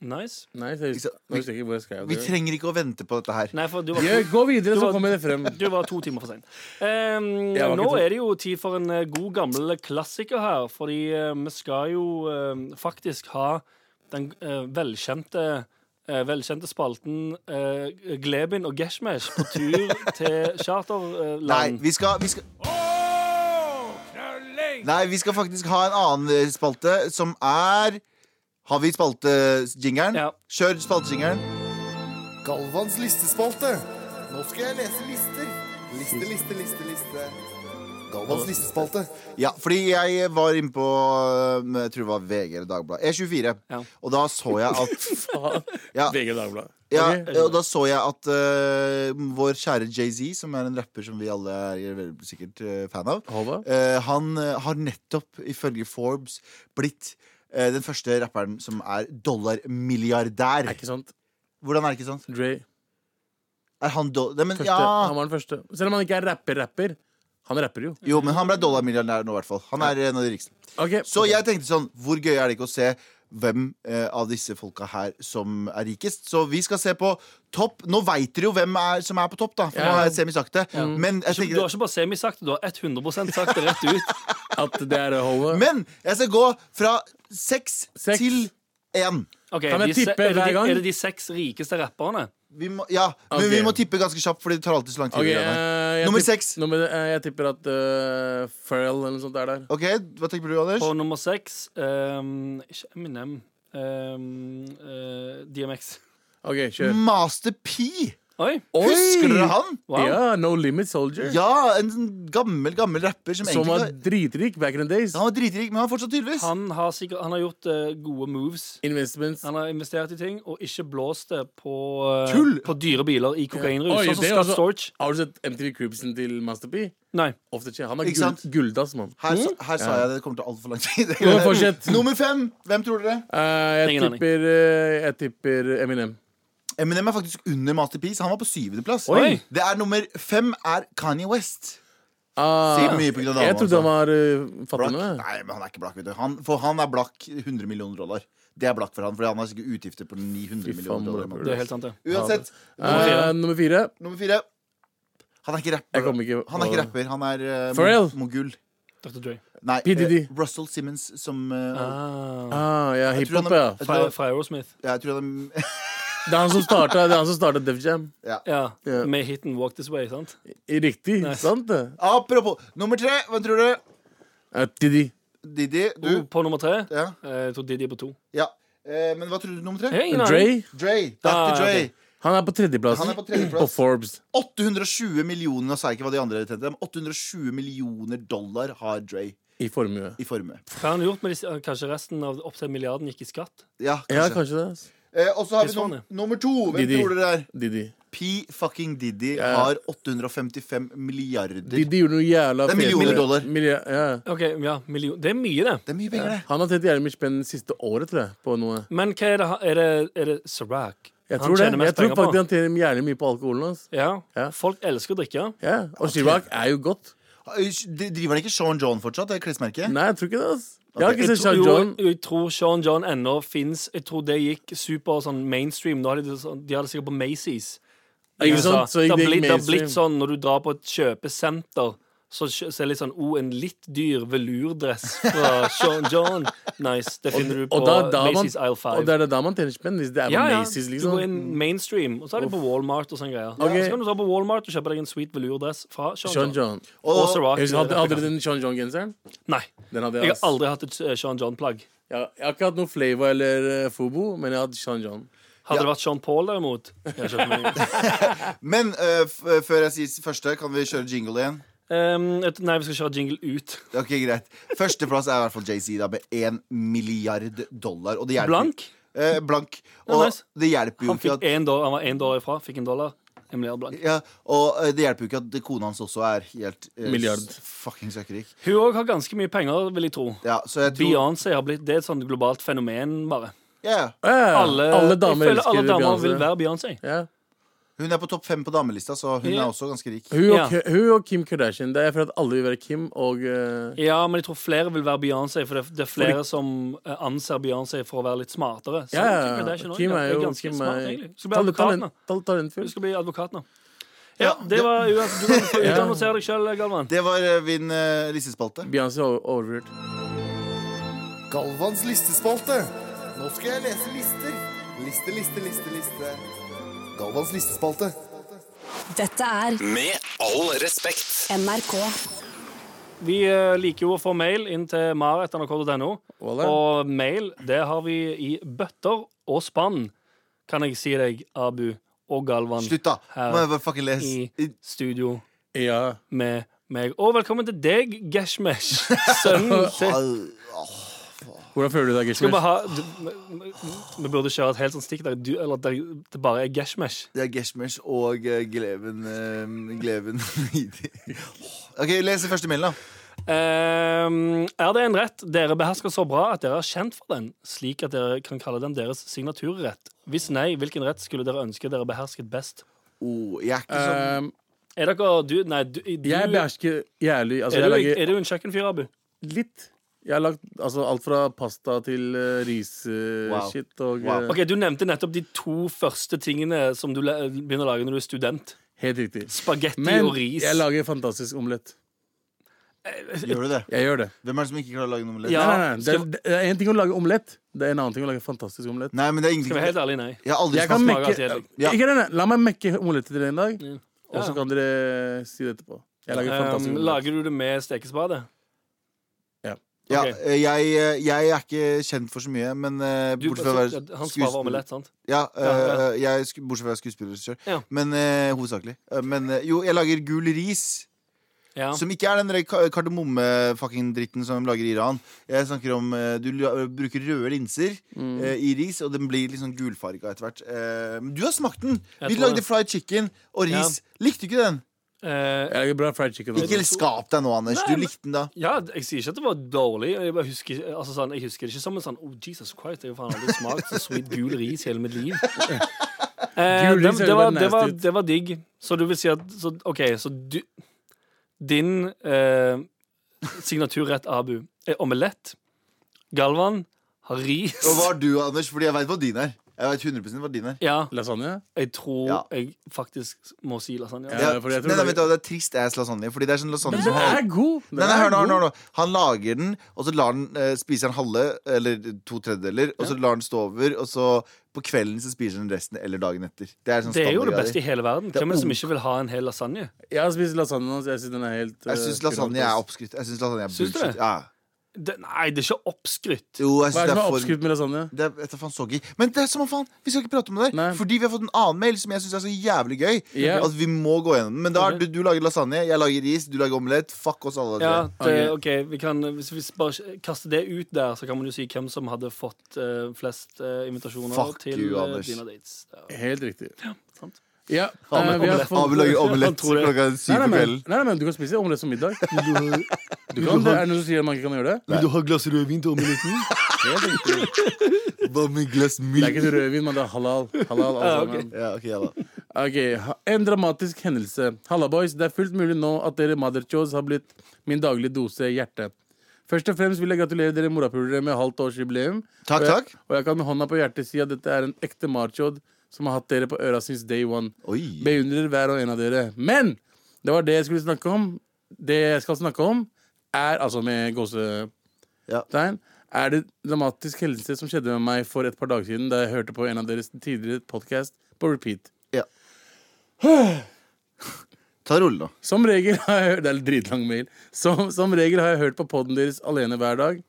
[SPEAKER 5] Nice.
[SPEAKER 3] Nei, så jeg,
[SPEAKER 2] Ikke sant?
[SPEAKER 3] jeg husker ikke hvor jeg skrev
[SPEAKER 2] Vi
[SPEAKER 3] det.
[SPEAKER 2] trenger ikke å vente på dette her.
[SPEAKER 5] Nei, for du var
[SPEAKER 3] Ja, gå videre,
[SPEAKER 5] Du
[SPEAKER 3] så
[SPEAKER 5] var-
[SPEAKER 3] kommer det frem.
[SPEAKER 5] Du var to timer for sein. Ehm,
[SPEAKER 3] Jeg var ikke
[SPEAKER 5] nå
[SPEAKER 3] to-
[SPEAKER 5] er det jo tid for en eh, god, gammel klassiker her. Fordi eh, vi skal jo eh, faktisk ha den eh, velkjente eh, Velkjente spalten eh, Glebin og Geshmesh på tur til
[SPEAKER 2] Nei,
[SPEAKER 5] charterland.
[SPEAKER 2] vi skal, vi skal Nei, vi skal faktisk ha en annen eh, spalte, som er Har vi spaltejingeren?
[SPEAKER 5] Ja.
[SPEAKER 2] Kjør spaltejingeren.
[SPEAKER 6] Galvans listespalte. Nå skal jeg lese lister. Liste, liste, liste, liste. Galvans listespalte.
[SPEAKER 2] Ja, fordi jeg var inne på øhm, Jeg tror det var VG eller Dagbladet. E24.
[SPEAKER 5] Ja.
[SPEAKER 2] Og da så jeg at Ja.
[SPEAKER 3] VG Dagbladet.
[SPEAKER 2] ja, eh,
[SPEAKER 3] Ok.
[SPEAKER 2] Og da så jeg at øh, vår kjære Jay-Z, som er en rapper som vi alle er veldig sikkert øh, fan av,
[SPEAKER 3] Håvard?
[SPEAKER 2] øh, han øh, har nettopp, ifølge Forbes, blitt øh, den første rapperen som er dollarmilliardær.
[SPEAKER 3] Er ikke sant?
[SPEAKER 2] Hvordan er det ikke sant?
[SPEAKER 3] Dre.
[SPEAKER 2] Er han do Nei, men,
[SPEAKER 3] Første,
[SPEAKER 2] ja.
[SPEAKER 3] Han var den første. Selv om han ikke er rapper-rapper. Han rapper jo.
[SPEAKER 2] Jo, men han ble dollarmilliardær nå, i hvert fall. Han er en av de rikeste.
[SPEAKER 3] Ok.
[SPEAKER 2] Så jeg tenkte sånn, hvor gøy er det ikke å se hvem eh, av disse folka her som er rikest? Så vi skal se på topp. Nå veit dere jo hvem er, som er på topp, da. For
[SPEAKER 3] Ja.
[SPEAKER 2] nå har jeg semisagt det. Men, jeg
[SPEAKER 5] Du har
[SPEAKER 2] tenker,
[SPEAKER 5] ikke bare semisagt det, du har 100 sagt det rett ut.
[SPEAKER 3] At det er eh, Håvard.
[SPEAKER 2] men jeg skal gå fra seks
[SPEAKER 3] Seks.
[SPEAKER 2] til én.
[SPEAKER 5] Ok,
[SPEAKER 3] Kan jeg
[SPEAKER 5] de se-
[SPEAKER 3] tippe
[SPEAKER 5] er, det
[SPEAKER 3] hver
[SPEAKER 5] de,
[SPEAKER 3] gang?
[SPEAKER 5] er det de seks rikeste rapperne?
[SPEAKER 2] Vi må, ja, men
[SPEAKER 3] Ok.
[SPEAKER 2] vi må tippe ganske kjapt, Fordi det tar alltid så lang tid.
[SPEAKER 3] Ok,
[SPEAKER 2] å gjøre det.
[SPEAKER 3] eh, jeg
[SPEAKER 2] Nummer
[SPEAKER 3] tipp-
[SPEAKER 2] seks.
[SPEAKER 3] nummer- eh, jeg tipper at eh, Pharrell eller noe sånt er der.
[SPEAKER 2] Ok, Hva tenker du, Anders?
[SPEAKER 5] På nummer seks ehm, Ikke Eminem. ehm, eh, DMX.
[SPEAKER 3] Ok, kjør.
[SPEAKER 2] Master P!
[SPEAKER 5] Oi!
[SPEAKER 2] Husker dere Mm. han?
[SPEAKER 5] Wow.
[SPEAKER 3] Ja, No Limit Soldier.
[SPEAKER 2] Ja, en sånn gammel gammel rapper som,
[SPEAKER 3] Som var
[SPEAKER 2] egentlig
[SPEAKER 3] dritrik back in the days.
[SPEAKER 2] var Han var dritrik, men han er fortsatt tydeligvis.
[SPEAKER 5] Han har, sikkert, han har gjort eh, gode moves.
[SPEAKER 3] Investments.
[SPEAKER 5] Han har investert i ting og ikke blåst det på, eh,
[SPEAKER 2] Tull!
[SPEAKER 5] på dyre biler i kokainrus.
[SPEAKER 3] Oi,
[SPEAKER 5] sånn som
[SPEAKER 3] det er
[SPEAKER 5] Scott
[SPEAKER 3] også-
[SPEAKER 5] Storch.
[SPEAKER 3] Har du sett MTV Cribsen til Master P?
[SPEAKER 5] Nei.
[SPEAKER 3] Ofte ikke. Han er
[SPEAKER 2] Ikke
[SPEAKER 3] gull,
[SPEAKER 2] sant?
[SPEAKER 3] gulldass, mann.
[SPEAKER 2] Her, sa- her sa jeg det kommer til altfor lang tid.
[SPEAKER 3] Ja, fortsett.
[SPEAKER 2] Nummer fem! Hvem tror dere?
[SPEAKER 3] Eh, jeg,
[SPEAKER 5] Ingen aning.
[SPEAKER 3] tipper, eh, jeg tipper Eminem.
[SPEAKER 2] Eminem er faktisk under Master P, så han var på syvendeplass.
[SPEAKER 5] Oi.
[SPEAKER 2] Det er nummer fem er Kanye West.
[SPEAKER 3] Ah,
[SPEAKER 2] Sier mye på grunn av
[SPEAKER 3] jeg
[SPEAKER 2] dama, altså.
[SPEAKER 3] trodde han var uh,
[SPEAKER 2] Blakk.
[SPEAKER 3] fattig nå. jeg.
[SPEAKER 2] Nei, men han er ikke blakk, vet du. Han, for han er blakk 100 millioner dollar. Det er blakk for han, fordi han har sikkert utgifter på 900
[SPEAKER 3] Fy faen,
[SPEAKER 2] millioner dollar. i
[SPEAKER 3] bror.
[SPEAKER 5] Det er
[SPEAKER 2] måneden.
[SPEAKER 5] helt sant, det.
[SPEAKER 2] Uansett,
[SPEAKER 3] Eh,
[SPEAKER 5] fire.
[SPEAKER 3] nummer fire.
[SPEAKER 2] nummer fire Han er ikke
[SPEAKER 3] Eh, Jeg
[SPEAKER 2] rapper.
[SPEAKER 3] kommer ikke
[SPEAKER 2] Han er ikke rapper, han er eh,
[SPEAKER 3] Pharrell.
[SPEAKER 2] mogul.
[SPEAKER 5] Dr. Dre.
[SPEAKER 2] Nei,
[SPEAKER 3] P. Diddy.
[SPEAKER 2] eh, Russell Simmons som eh,
[SPEAKER 5] Ah.
[SPEAKER 3] Ah, ja,
[SPEAKER 2] jeg tror
[SPEAKER 3] hiphop,
[SPEAKER 2] han er-
[SPEAKER 3] ja.
[SPEAKER 2] jeg
[SPEAKER 5] Fra,
[SPEAKER 2] tror han-
[SPEAKER 5] fra Aerosmith.
[SPEAKER 2] Jeg tror han
[SPEAKER 3] Det er han som starta, det er han som starta Def Jam.
[SPEAKER 5] Ja.
[SPEAKER 3] Ja.
[SPEAKER 5] Med hiten 'Walk This Way'. sant?
[SPEAKER 3] Riktig, sant det?
[SPEAKER 2] Apropos nummer tre, hvem tror du?
[SPEAKER 3] Eh, Diddy.
[SPEAKER 2] Didi,
[SPEAKER 5] Oh,
[SPEAKER 2] du?
[SPEAKER 5] på nummer tre.
[SPEAKER 2] Ja.
[SPEAKER 5] eh, Jeg tror Didi er på to.
[SPEAKER 2] ja. Eh, men hva tror du nummer tre?
[SPEAKER 5] Hey,
[SPEAKER 3] Dre.
[SPEAKER 2] Dre.
[SPEAKER 5] Ah,
[SPEAKER 2] Dr. Dre.
[SPEAKER 5] ok.
[SPEAKER 3] Han er på tredjeplass.
[SPEAKER 2] Han er på
[SPEAKER 3] På
[SPEAKER 2] tredjeplass.
[SPEAKER 3] Forbes.
[SPEAKER 2] 820 millioner nå sa jeg ikke hva de andre tjente, men 820 millioner dollar har Dre
[SPEAKER 3] I formue.
[SPEAKER 2] i formue.
[SPEAKER 5] Hva har han gjort med disse, kanskje resten av opptil milliarden gikk i skatt?
[SPEAKER 2] Ja, kanskje.
[SPEAKER 3] Ja, kanskje det. ass.
[SPEAKER 2] Eh, og så har vi
[SPEAKER 5] Det er sånn,
[SPEAKER 2] num nummer to. Hvem
[SPEAKER 3] Diddy.
[SPEAKER 2] tror dere det er?
[SPEAKER 3] Diddy.
[SPEAKER 2] P fucking Diddy
[SPEAKER 3] Ja.
[SPEAKER 2] har 855 milliarder. Det
[SPEAKER 3] Diddy gjorde noe jævla
[SPEAKER 2] Det er millioner
[SPEAKER 3] fete-
[SPEAKER 2] dollar.
[SPEAKER 3] Milli- ja.
[SPEAKER 5] Ok, ja, million. Det er mye, det.
[SPEAKER 2] er mye penger, det.
[SPEAKER 3] Han har tjent jævlig mye spenn siste året, tror jeg. På noe.
[SPEAKER 5] Men hva er det han- Er det, er det Sirac?
[SPEAKER 3] Jeg
[SPEAKER 5] han
[SPEAKER 3] tror det.
[SPEAKER 5] tjener mest
[SPEAKER 3] Jeg tror
[SPEAKER 5] penger på?
[SPEAKER 3] faktisk han tjener jævlig mye på alkoholen hans.
[SPEAKER 5] Ja.
[SPEAKER 3] Ja.
[SPEAKER 5] Folk elsker å drikke.
[SPEAKER 3] Ja. Og Chirac er jo godt.
[SPEAKER 2] Eh, de- Driver han ikke Sean John fortsatt, det klesmerket?
[SPEAKER 3] Nei, jeg tror ikke det. ass Jeg har ikke
[SPEAKER 5] Jeg
[SPEAKER 3] sett
[SPEAKER 5] tror,
[SPEAKER 3] Sean John.
[SPEAKER 5] jo, jeg tror Sean John ennå fins. Jeg tror det gikk super sånn mainstream. Nå har de, det sånn, de har det sikkert på Macy's. i
[SPEAKER 3] Ikke
[SPEAKER 5] USA.
[SPEAKER 3] sant? Så
[SPEAKER 5] det, har
[SPEAKER 3] det gikk
[SPEAKER 5] blitt, det har
[SPEAKER 3] mainstream.
[SPEAKER 5] blitt sånn når du drar på et kjøpesenter, så ser det litt sånn O, en litt dyr velurdress fra Sean John. Nice. Det finner du på
[SPEAKER 3] Og, da, da man,
[SPEAKER 5] Macy's Isle 5.
[SPEAKER 3] og det er det da man tjener spenn. Hvis det er på
[SPEAKER 5] ja, ja.
[SPEAKER 3] Macy's,
[SPEAKER 5] Du
[SPEAKER 3] liksom.
[SPEAKER 5] går inn mainstream, og så er de på Walmart og sånn greier.
[SPEAKER 3] Ok.
[SPEAKER 5] Så kan du dra på Walmart og kjøpe deg en sweet velurdress fra Sean, John.
[SPEAKER 3] Sean John.
[SPEAKER 5] Og Ciroc.
[SPEAKER 3] Jeg husker, Hadde, hadde du den Sean John-genseren?
[SPEAKER 5] Nei.
[SPEAKER 3] Den
[SPEAKER 5] Jeg
[SPEAKER 3] hadde jeg.
[SPEAKER 5] har
[SPEAKER 3] ass.
[SPEAKER 5] aldri hatt et eh, Sean John-plagg.
[SPEAKER 3] Jeg, jeg har ikke hatt noe Flava eller eh, Fubo, men jeg hadde Sean John.
[SPEAKER 5] Hadde det vært Sean Paul, derimot jeg hadde kjøpt meg-
[SPEAKER 2] Men eh, f eh, før jeg sier første, kan vi kjøre jingle igjen?
[SPEAKER 5] Ehm, et- Nei, vi skal kjøre jingle ut.
[SPEAKER 2] Ok, greit Førsteplass er i hvert fall Jay-Z da, med 1 milliard dollar. Og det hjelper,
[SPEAKER 5] Blank.
[SPEAKER 2] Eh, blank.
[SPEAKER 5] Ja,
[SPEAKER 2] Og
[SPEAKER 5] nice.
[SPEAKER 2] det hjelper jo
[SPEAKER 5] Han,
[SPEAKER 2] ikke
[SPEAKER 5] fikk
[SPEAKER 2] at
[SPEAKER 5] en dollar, han var én dollar ifra, fikk en dollar. En milliard blank.
[SPEAKER 2] ja, Og eh, det hjelper jo ikke at kona hans også er helt eh,
[SPEAKER 3] Milliard.
[SPEAKER 2] s- Fucking søkkrik.
[SPEAKER 5] Hun òg har ganske mye penger, vil jeg tro.
[SPEAKER 2] Ja, så jeg tror
[SPEAKER 5] Beyoncé har blitt Det er et sånt globalt fenomen, bare.
[SPEAKER 2] ja, ja.
[SPEAKER 3] Eh,
[SPEAKER 5] Alle,
[SPEAKER 3] alle damer
[SPEAKER 5] jeg føler alle
[SPEAKER 3] elsker
[SPEAKER 5] damer
[SPEAKER 3] Beyoncé.
[SPEAKER 5] vil være Beyoncé.
[SPEAKER 3] Ja.
[SPEAKER 2] Hun er på topp fem på damelista, så hun
[SPEAKER 5] Ja.
[SPEAKER 2] er også ganske rik.
[SPEAKER 3] Hun, og,
[SPEAKER 5] Ja.
[SPEAKER 3] K- hun og Kim Kardashian. Det er for at alle vil være Kim og eh,
[SPEAKER 5] Ja, men jeg tror flere vil være Beyoncé, for det, det er flere som eh, anser Beyoncé for å være litt smartere. Så
[SPEAKER 3] Ja,
[SPEAKER 5] Kim
[SPEAKER 3] ja,
[SPEAKER 5] Kardashian også
[SPEAKER 3] Kim er jo
[SPEAKER 5] ganske
[SPEAKER 3] Kim
[SPEAKER 5] smart,
[SPEAKER 3] er,
[SPEAKER 5] egentlig. Skal bli
[SPEAKER 3] tal-
[SPEAKER 5] advokat nå.
[SPEAKER 3] talent, tal- talentfull.
[SPEAKER 5] Du skal bli advokat nå. Ja, det var uansett. Du kan få
[SPEAKER 3] Ja.
[SPEAKER 5] utannonsere deg sjøl, Galvan.
[SPEAKER 2] Det var eh, min uh, listespalte.
[SPEAKER 3] Beyoncé er overvurdert.
[SPEAKER 6] Galvans listespalte. Nå skal jeg lese lister. Liste, liste, liste, liste. Galvans listespalte.
[SPEAKER 7] Dette er
[SPEAKER 1] Med all respekt.
[SPEAKER 7] NRK.
[SPEAKER 5] Vi eh, liker jo å få mail inn til maret.nrk.no.
[SPEAKER 3] Voilà.
[SPEAKER 5] Og mail, det har vi i bøtter og spann, kan jeg si deg, Abu og Galvan,
[SPEAKER 2] Slutt, da!
[SPEAKER 5] Her
[SPEAKER 2] Må jeg bare fucking lese.
[SPEAKER 5] i studio
[SPEAKER 3] Ja.
[SPEAKER 5] med meg. Og velkommen til deg, Geshmesh, sønnen til
[SPEAKER 3] Hvordan føler du deg,
[SPEAKER 5] Skal vi bare ha
[SPEAKER 3] Gishmer?
[SPEAKER 5] du, m- m- Vi burde kjøre et helt sånt stikk der, du, eller der det bare er gashmash.
[SPEAKER 2] Det er Geshmesh og eh, Gleven eh, Gleven OK, les den første mailen, da.
[SPEAKER 5] Ehm, er det en rett dere behersker så bra at dere er kjent for den, slik at dere kan kalle den deres signaturrett? Hvis nei, hvilken rett skulle dere ønske dere behersket best?
[SPEAKER 2] Oh, jeg er ikke sånn
[SPEAKER 5] Eh,
[SPEAKER 3] Um,
[SPEAKER 5] Er dere du, Nei, du, du
[SPEAKER 3] jeg behersker jævlig altså,
[SPEAKER 5] er,
[SPEAKER 3] jeg
[SPEAKER 5] du,
[SPEAKER 3] lager,
[SPEAKER 5] er du en kjøkkenfyr, Abu?
[SPEAKER 3] Litt. Jeg har lagt altså, alt fra pasta til
[SPEAKER 2] Wow.
[SPEAKER 3] uh, risshit og
[SPEAKER 2] Wow.
[SPEAKER 3] eh,
[SPEAKER 5] Ok, Du nevnte nettopp de to første tingene som du le- begynner å lage når du er student.
[SPEAKER 3] Helt riktig.
[SPEAKER 5] Spagetti
[SPEAKER 3] Men
[SPEAKER 5] og ris. Eh,
[SPEAKER 3] jeg lager fantastisk omelett.
[SPEAKER 2] Gjør du det?
[SPEAKER 3] Jeg gjør det.
[SPEAKER 2] Hvem er det som ikke klarer å lage noe omelett?
[SPEAKER 5] Ja.
[SPEAKER 3] nei, nei, nei. Det,
[SPEAKER 5] skal-
[SPEAKER 3] er- det er en ting å lage omelett, det er en annen ting å lage fantastisk omelett.
[SPEAKER 2] Nei, men det er
[SPEAKER 5] Skal vi være helt
[SPEAKER 2] ingenting
[SPEAKER 5] ærlig, nei.
[SPEAKER 2] Jeg har aldri
[SPEAKER 3] Jeg kan
[SPEAKER 2] smakt
[SPEAKER 5] smaker
[SPEAKER 3] mekke
[SPEAKER 5] kjedelig.
[SPEAKER 2] Ja.
[SPEAKER 3] Ikke det, nei. La meg mekke omelettet til dere en dag, og
[SPEAKER 5] Ja.
[SPEAKER 3] så kan dere si det etterpå. Jeg lager fantastisk
[SPEAKER 5] Ehm,
[SPEAKER 3] omelett.
[SPEAKER 5] lager du det med stekespade?
[SPEAKER 2] ja,
[SPEAKER 5] Ok.
[SPEAKER 2] eh, jeg, eh, jeg er ikke kjent for så mye, men eh,
[SPEAKER 5] Du,
[SPEAKER 2] bortsett fra å være
[SPEAKER 5] han svarer
[SPEAKER 2] skuespiller-
[SPEAKER 5] omelett, sant?
[SPEAKER 2] Ja,
[SPEAKER 5] Ja,
[SPEAKER 2] eh, jeg er sku- bortsett fra å være skuespiller selv.
[SPEAKER 5] Ja.
[SPEAKER 2] Men eh, hovedsakelig. Eh, men eh, jo, jeg lager gul ris.
[SPEAKER 5] Ja.
[SPEAKER 2] Som ikke er den der ka- kardemomme-fucking-dritten som de lager i Iran. Jeg snakker om eh, Du la- bruker røde linser
[SPEAKER 5] Mm.
[SPEAKER 2] eh, i ris, og den blir litt sånn gulfarga etter hvert. Eh, men du har smakt den!
[SPEAKER 5] Jeg
[SPEAKER 2] Vi
[SPEAKER 5] tror
[SPEAKER 2] lagde
[SPEAKER 5] det.
[SPEAKER 2] fried chicken og ris. Likte du ikke den?
[SPEAKER 5] Eh,
[SPEAKER 3] Jeg lager bra fried chicken.
[SPEAKER 2] Ikke skap deg nå, Anders.
[SPEAKER 5] Nei,
[SPEAKER 2] Du
[SPEAKER 5] men-
[SPEAKER 2] likte den da.
[SPEAKER 5] ja, jeg sier ikke at det var dårlig. Jeg, bare husker, altså, sånn, jeg husker det ikke som en sånn Oh, Jesus Christ, jeg har jo faen aldri smakt så sweet gul ris i hele mitt liv. Eh,
[SPEAKER 3] Gul
[SPEAKER 5] det,
[SPEAKER 3] ris er
[SPEAKER 5] det,
[SPEAKER 3] jo
[SPEAKER 5] var,
[SPEAKER 3] bare
[SPEAKER 5] det, var,
[SPEAKER 3] nasty ut.
[SPEAKER 5] det var digg. Så du vil si at så, OK, så du Din eh, signaturrett, Abu, er omelett. Galvan har ris.
[SPEAKER 2] Og hva har du, Anders? Fordi jeg veit hva din er. Jeg vet 100% hva din er.
[SPEAKER 5] Ja,
[SPEAKER 3] Lasagne?
[SPEAKER 5] jeg tror
[SPEAKER 2] Ja.
[SPEAKER 5] jeg faktisk må si lasagne.
[SPEAKER 3] Ja.
[SPEAKER 2] Ja,
[SPEAKER 3] fordi jeg tror
[SPEAKER 2] nei, nei,
[SPEAKER 3] det-
[SPEAKER 2] vent, da, det er trist ass lasagne. Fordi det er sånn lasagne som
[SPEAKER 3] Den
[SPEAKER 2] har
[SPEAKER 3] er god! Den
[SPEAKER 2] Nei, nei,
[SPEAKER 3] er
[SPEAKER 2] hør nå, hør nå, hør
[SPEAKER 3] god.
[SPEAKER 2] nå. Han lager den, og så lar den, eh, spiser han halve, eller to tredjedeler, og så lar den stå over, og så på kvelden så spiser han resten, eller dagen etter. Det er, sånn
[SPEAKER 5] Det er jo det
[SPEAKER 2] standardgreier.
[SPEAKER 5] beste i hele verden.
[SPEAKER 2] er
[SPEAKER 5] Hvem er det som
[SPEAKER 2] ung.
[SPEAKER 5] ikke vil ha en hel lasagne?
[SPEAKER 3] Jeg har spist lasagne nå, så jeg syns den er helt eh,
[SPEAKER 2] Jeg syns lasagne er oppskrytt. Jeg synes lasagne er
[SPEAKER 5] Syns du
[SPEAKER 2] bullshit.
[SPEAKER 5] det?
[SPEAKER 2] Ja.
[SPEAKER 5] Det, nei, det er ikke oppskrytt.
[SPEAKER 2] Jo, jeg
[SPEAKER 3] Hva
[SPEAKER 2] synes
[SPEAKER 3] er
[SPEAKER 2] det er
[SPEAKER 3] det som er
[SPEAKER 2] for
[SPEAKER 3] oppskrytt med lasagne?
[SPEAKER 2] det er, det er faen soggy. Men det er som om faen, vi skal ikke prate om det der.
[SPEAKER 3] Nei.
[SPEAKER 2] Fordi vi har fått en annen mail som jeg syns er så jævlig gøy.
[SPEAKER 3] Ja.
[SPEAKER 2] At vi må gå gjennom den. Men da er
[SPEAKER 5] Ok.
[SPEAKER 2] du, du lager lasagne, jeg lager ris, du lager omelett. Fuck oss alle. tre.
[SPEAKER 5] Ja, det, ok, vi kan, Hvis vi bare kaster det ut der, så kan man jo si hvem som hadde fått eh, flest eh, invitasjoner
[SPEAKER 2] Fuck
[SPEAKER 5] til
[SPEAKER 2] you,
[SPEAKER 5] eh,
[SPEAKER 2] Anders.
[SPEAKER 5] dine dates. Ja.
[SPEAKER 3] Helt riktig. Ja,
[SPEAKER 5] sant.
[SPEAKER 3] eh,
[SPEAKER 2] Abu-
[SPEAKER 3] vi har
[SPEAKER 2] omelett.
[SPEAKER 3] fått-
[SPEAKER 2] Abu lager
[SPEAKER 5] Han
[SPEAKER 2] omelett
[SPEAKER 5] tror det.
[SPEAKER 2] klokka syv
[SPEAKER 3] Nei, nei,
[SPEAKER 2] på
[SPEAKER 3] men,
[SPEAKER 2] kvelden.
[SPEAKER 3] nei, nei, men du kan spise omelett som middag. Du kan, det er noen som sier at man ikke kan gjøre det.
[SPEAKER 4] Vil du ha et glass rødvin til omeletten?
[SPEAKER 3] Helt riktig.
[SPEAKER 2] Hva med et glass
[SPEAKER 3] Det er
[SPEAKER 2] milk?
[SPEAKER 3] ikke rødvin, men det er halal. halal altså, alle sammen.
[SPEAKER 2] Ja, ok, ja da.
[SPEAKER 3] Ok, ha- En dramatisk hendelse. Halla, boys. Det er fullt mulig nå at dere motherchos har blitt min daglige dose hjerte. Først og fremst vil jeg gratulere dere morapulere med halvt års jubileum.
[SPEAKER 2] Takk,
[SPEAKER 3] og jeg,
[SPEAKER 2] takk.
[SPEAKER 3] Og jeg kan med hånda på hjertet si at dette er en ekte machod som har hatt dere på øra since day one.
[SPEAKER 2] Oi.
[SPEAKER 3] Beundrer hver og en av dere. Men det var det jeg skulle snakke om. det jeg skal snakke om, er altså med
[SPEAKER 2] Ja.
[SPEAKER 3] gåsetegn Er det dramatisk hendelse som skjedde med meg for et par dager siden da jeg hørte på en av deres tidligere podkast på repeat.
[SPEAKER 2] Ta rolig nå.
[SPEAKER 3] Som regel har jeg hørt Det er en dritlang mail. Som, som regel har jeg hørt på poden deres alene hver dag.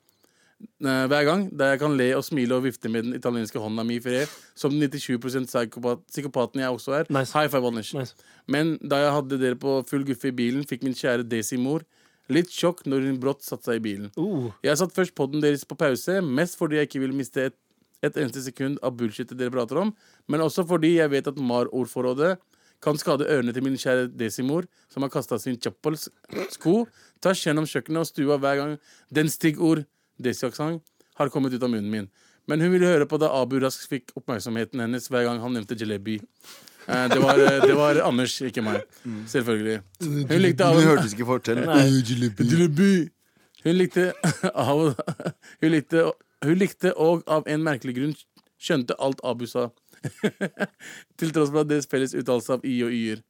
[SPEAKER 3] eh, Hver gang, Der jeg kan le og smile og vifte med den italienske hånda mi i fred. Som den 97 psykopat, psykopaten jeg også er.
[SPEAKER 5] Nice.
[SPEAKER 3] High five, Anders.
[SPEAKER 5] Nice.
[SPEAKER 3] Men da jeg hadde dere på full guffe i bilen, fikk min kjære Desi-mor litt sjokk når hun brått satte seg i bilen.
[SPEAKER 5] Uh.
[SPEAKER 3] Jeg satt først podden deres på pause, mest fordi jeg ikke ville miste et, et eneste sekund av bullshitet dere prater om, men også fordi jeg vet at MAR-ordforrådet kan skade ørene til min kjære Desimor, som har kasta sin chappels sko tvers gjennom kjøkkenet og stua hver gang den stiggord Desi-aksent har kommet ut av munnen min. Men hun ville høre på da Abu raskt fikk oppmerksomheten hennes hver gang han nevnte jalebi. Eh, Det var, det var Anders, ikke meg. Selvfølgelig. Hun
[SPEAKER 2] Mm.
[SPEAKER 3] likte
[SPEAKER 2] Du
[SPEAKER 3] Abu
[SPEAKER 2] hørtes ikke fortell.
[SPEAKER 3] Jalebi. Hun likte av Hun likte, hun likte og av en merkelig grunn skjønte alt Abu sa. Til tross for at deres felles uttalelse av i og y-er.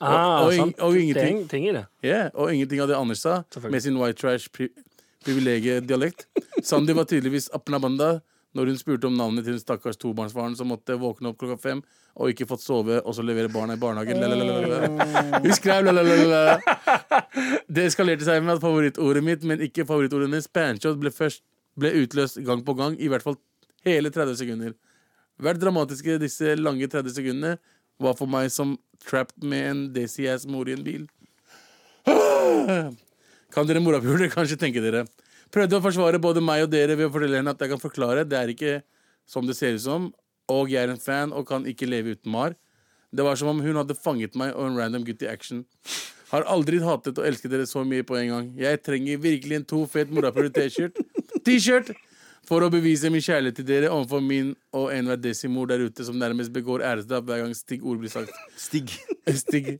[SPEAKER 5] Ah,
[SPEAKER 3] og-
[SPEAKER 5] sant.
[SPEAKER 3] og ingenting.
[SPEAKER 5] Det er en ting i det.
[SPEAKER 3] Yeah, og ingenting av det Anders sa,
[SPEAKER 5] Selvfølgelig.
[SPEAKER 3] med sin white trash pri privilegiedialekt. Sandi var tydeligvis apnabanda når hun spurte om navnet til den stakkars tobarnsfaren som måtte våkne opp klokka fem og ikke fått sove, og så levere barna i barnehagen. Lalalala. Hun skrev lalalala. Det eskalerte seg med at favorittordet mitt, men ikke favorittordet hennes, spanshot, ble først ble utløst gang på gang, i hvert fall hele 30 sekunder. Hvert dramatiske disse lange 30 sekundene var for meg som trapped med en desi-ass mor i en bil. Kan dere morapulere kanskje tenke dere? Prøvde å forsvare både meg og dere ved å fortelle henne at jeg kan forklare. Det er ikke som det ser ut som, og jeg er en fan og kan ikke leve uten Mar. Det var som om hun hadde fanget meg og en random gutt i action. Har aldri hatet og elsket dere så mye på en gang. Jeg trenger virkelig en to fet morapuler T-skjort T-skjort for å bevise min kjærlighet til dere overfor min og enhver desimor der ute som nærmest begår æresdrap hver gang stygg ord blir sagt.
[SPEAKER 2] Stig.
[SPEAKER 3] Stig.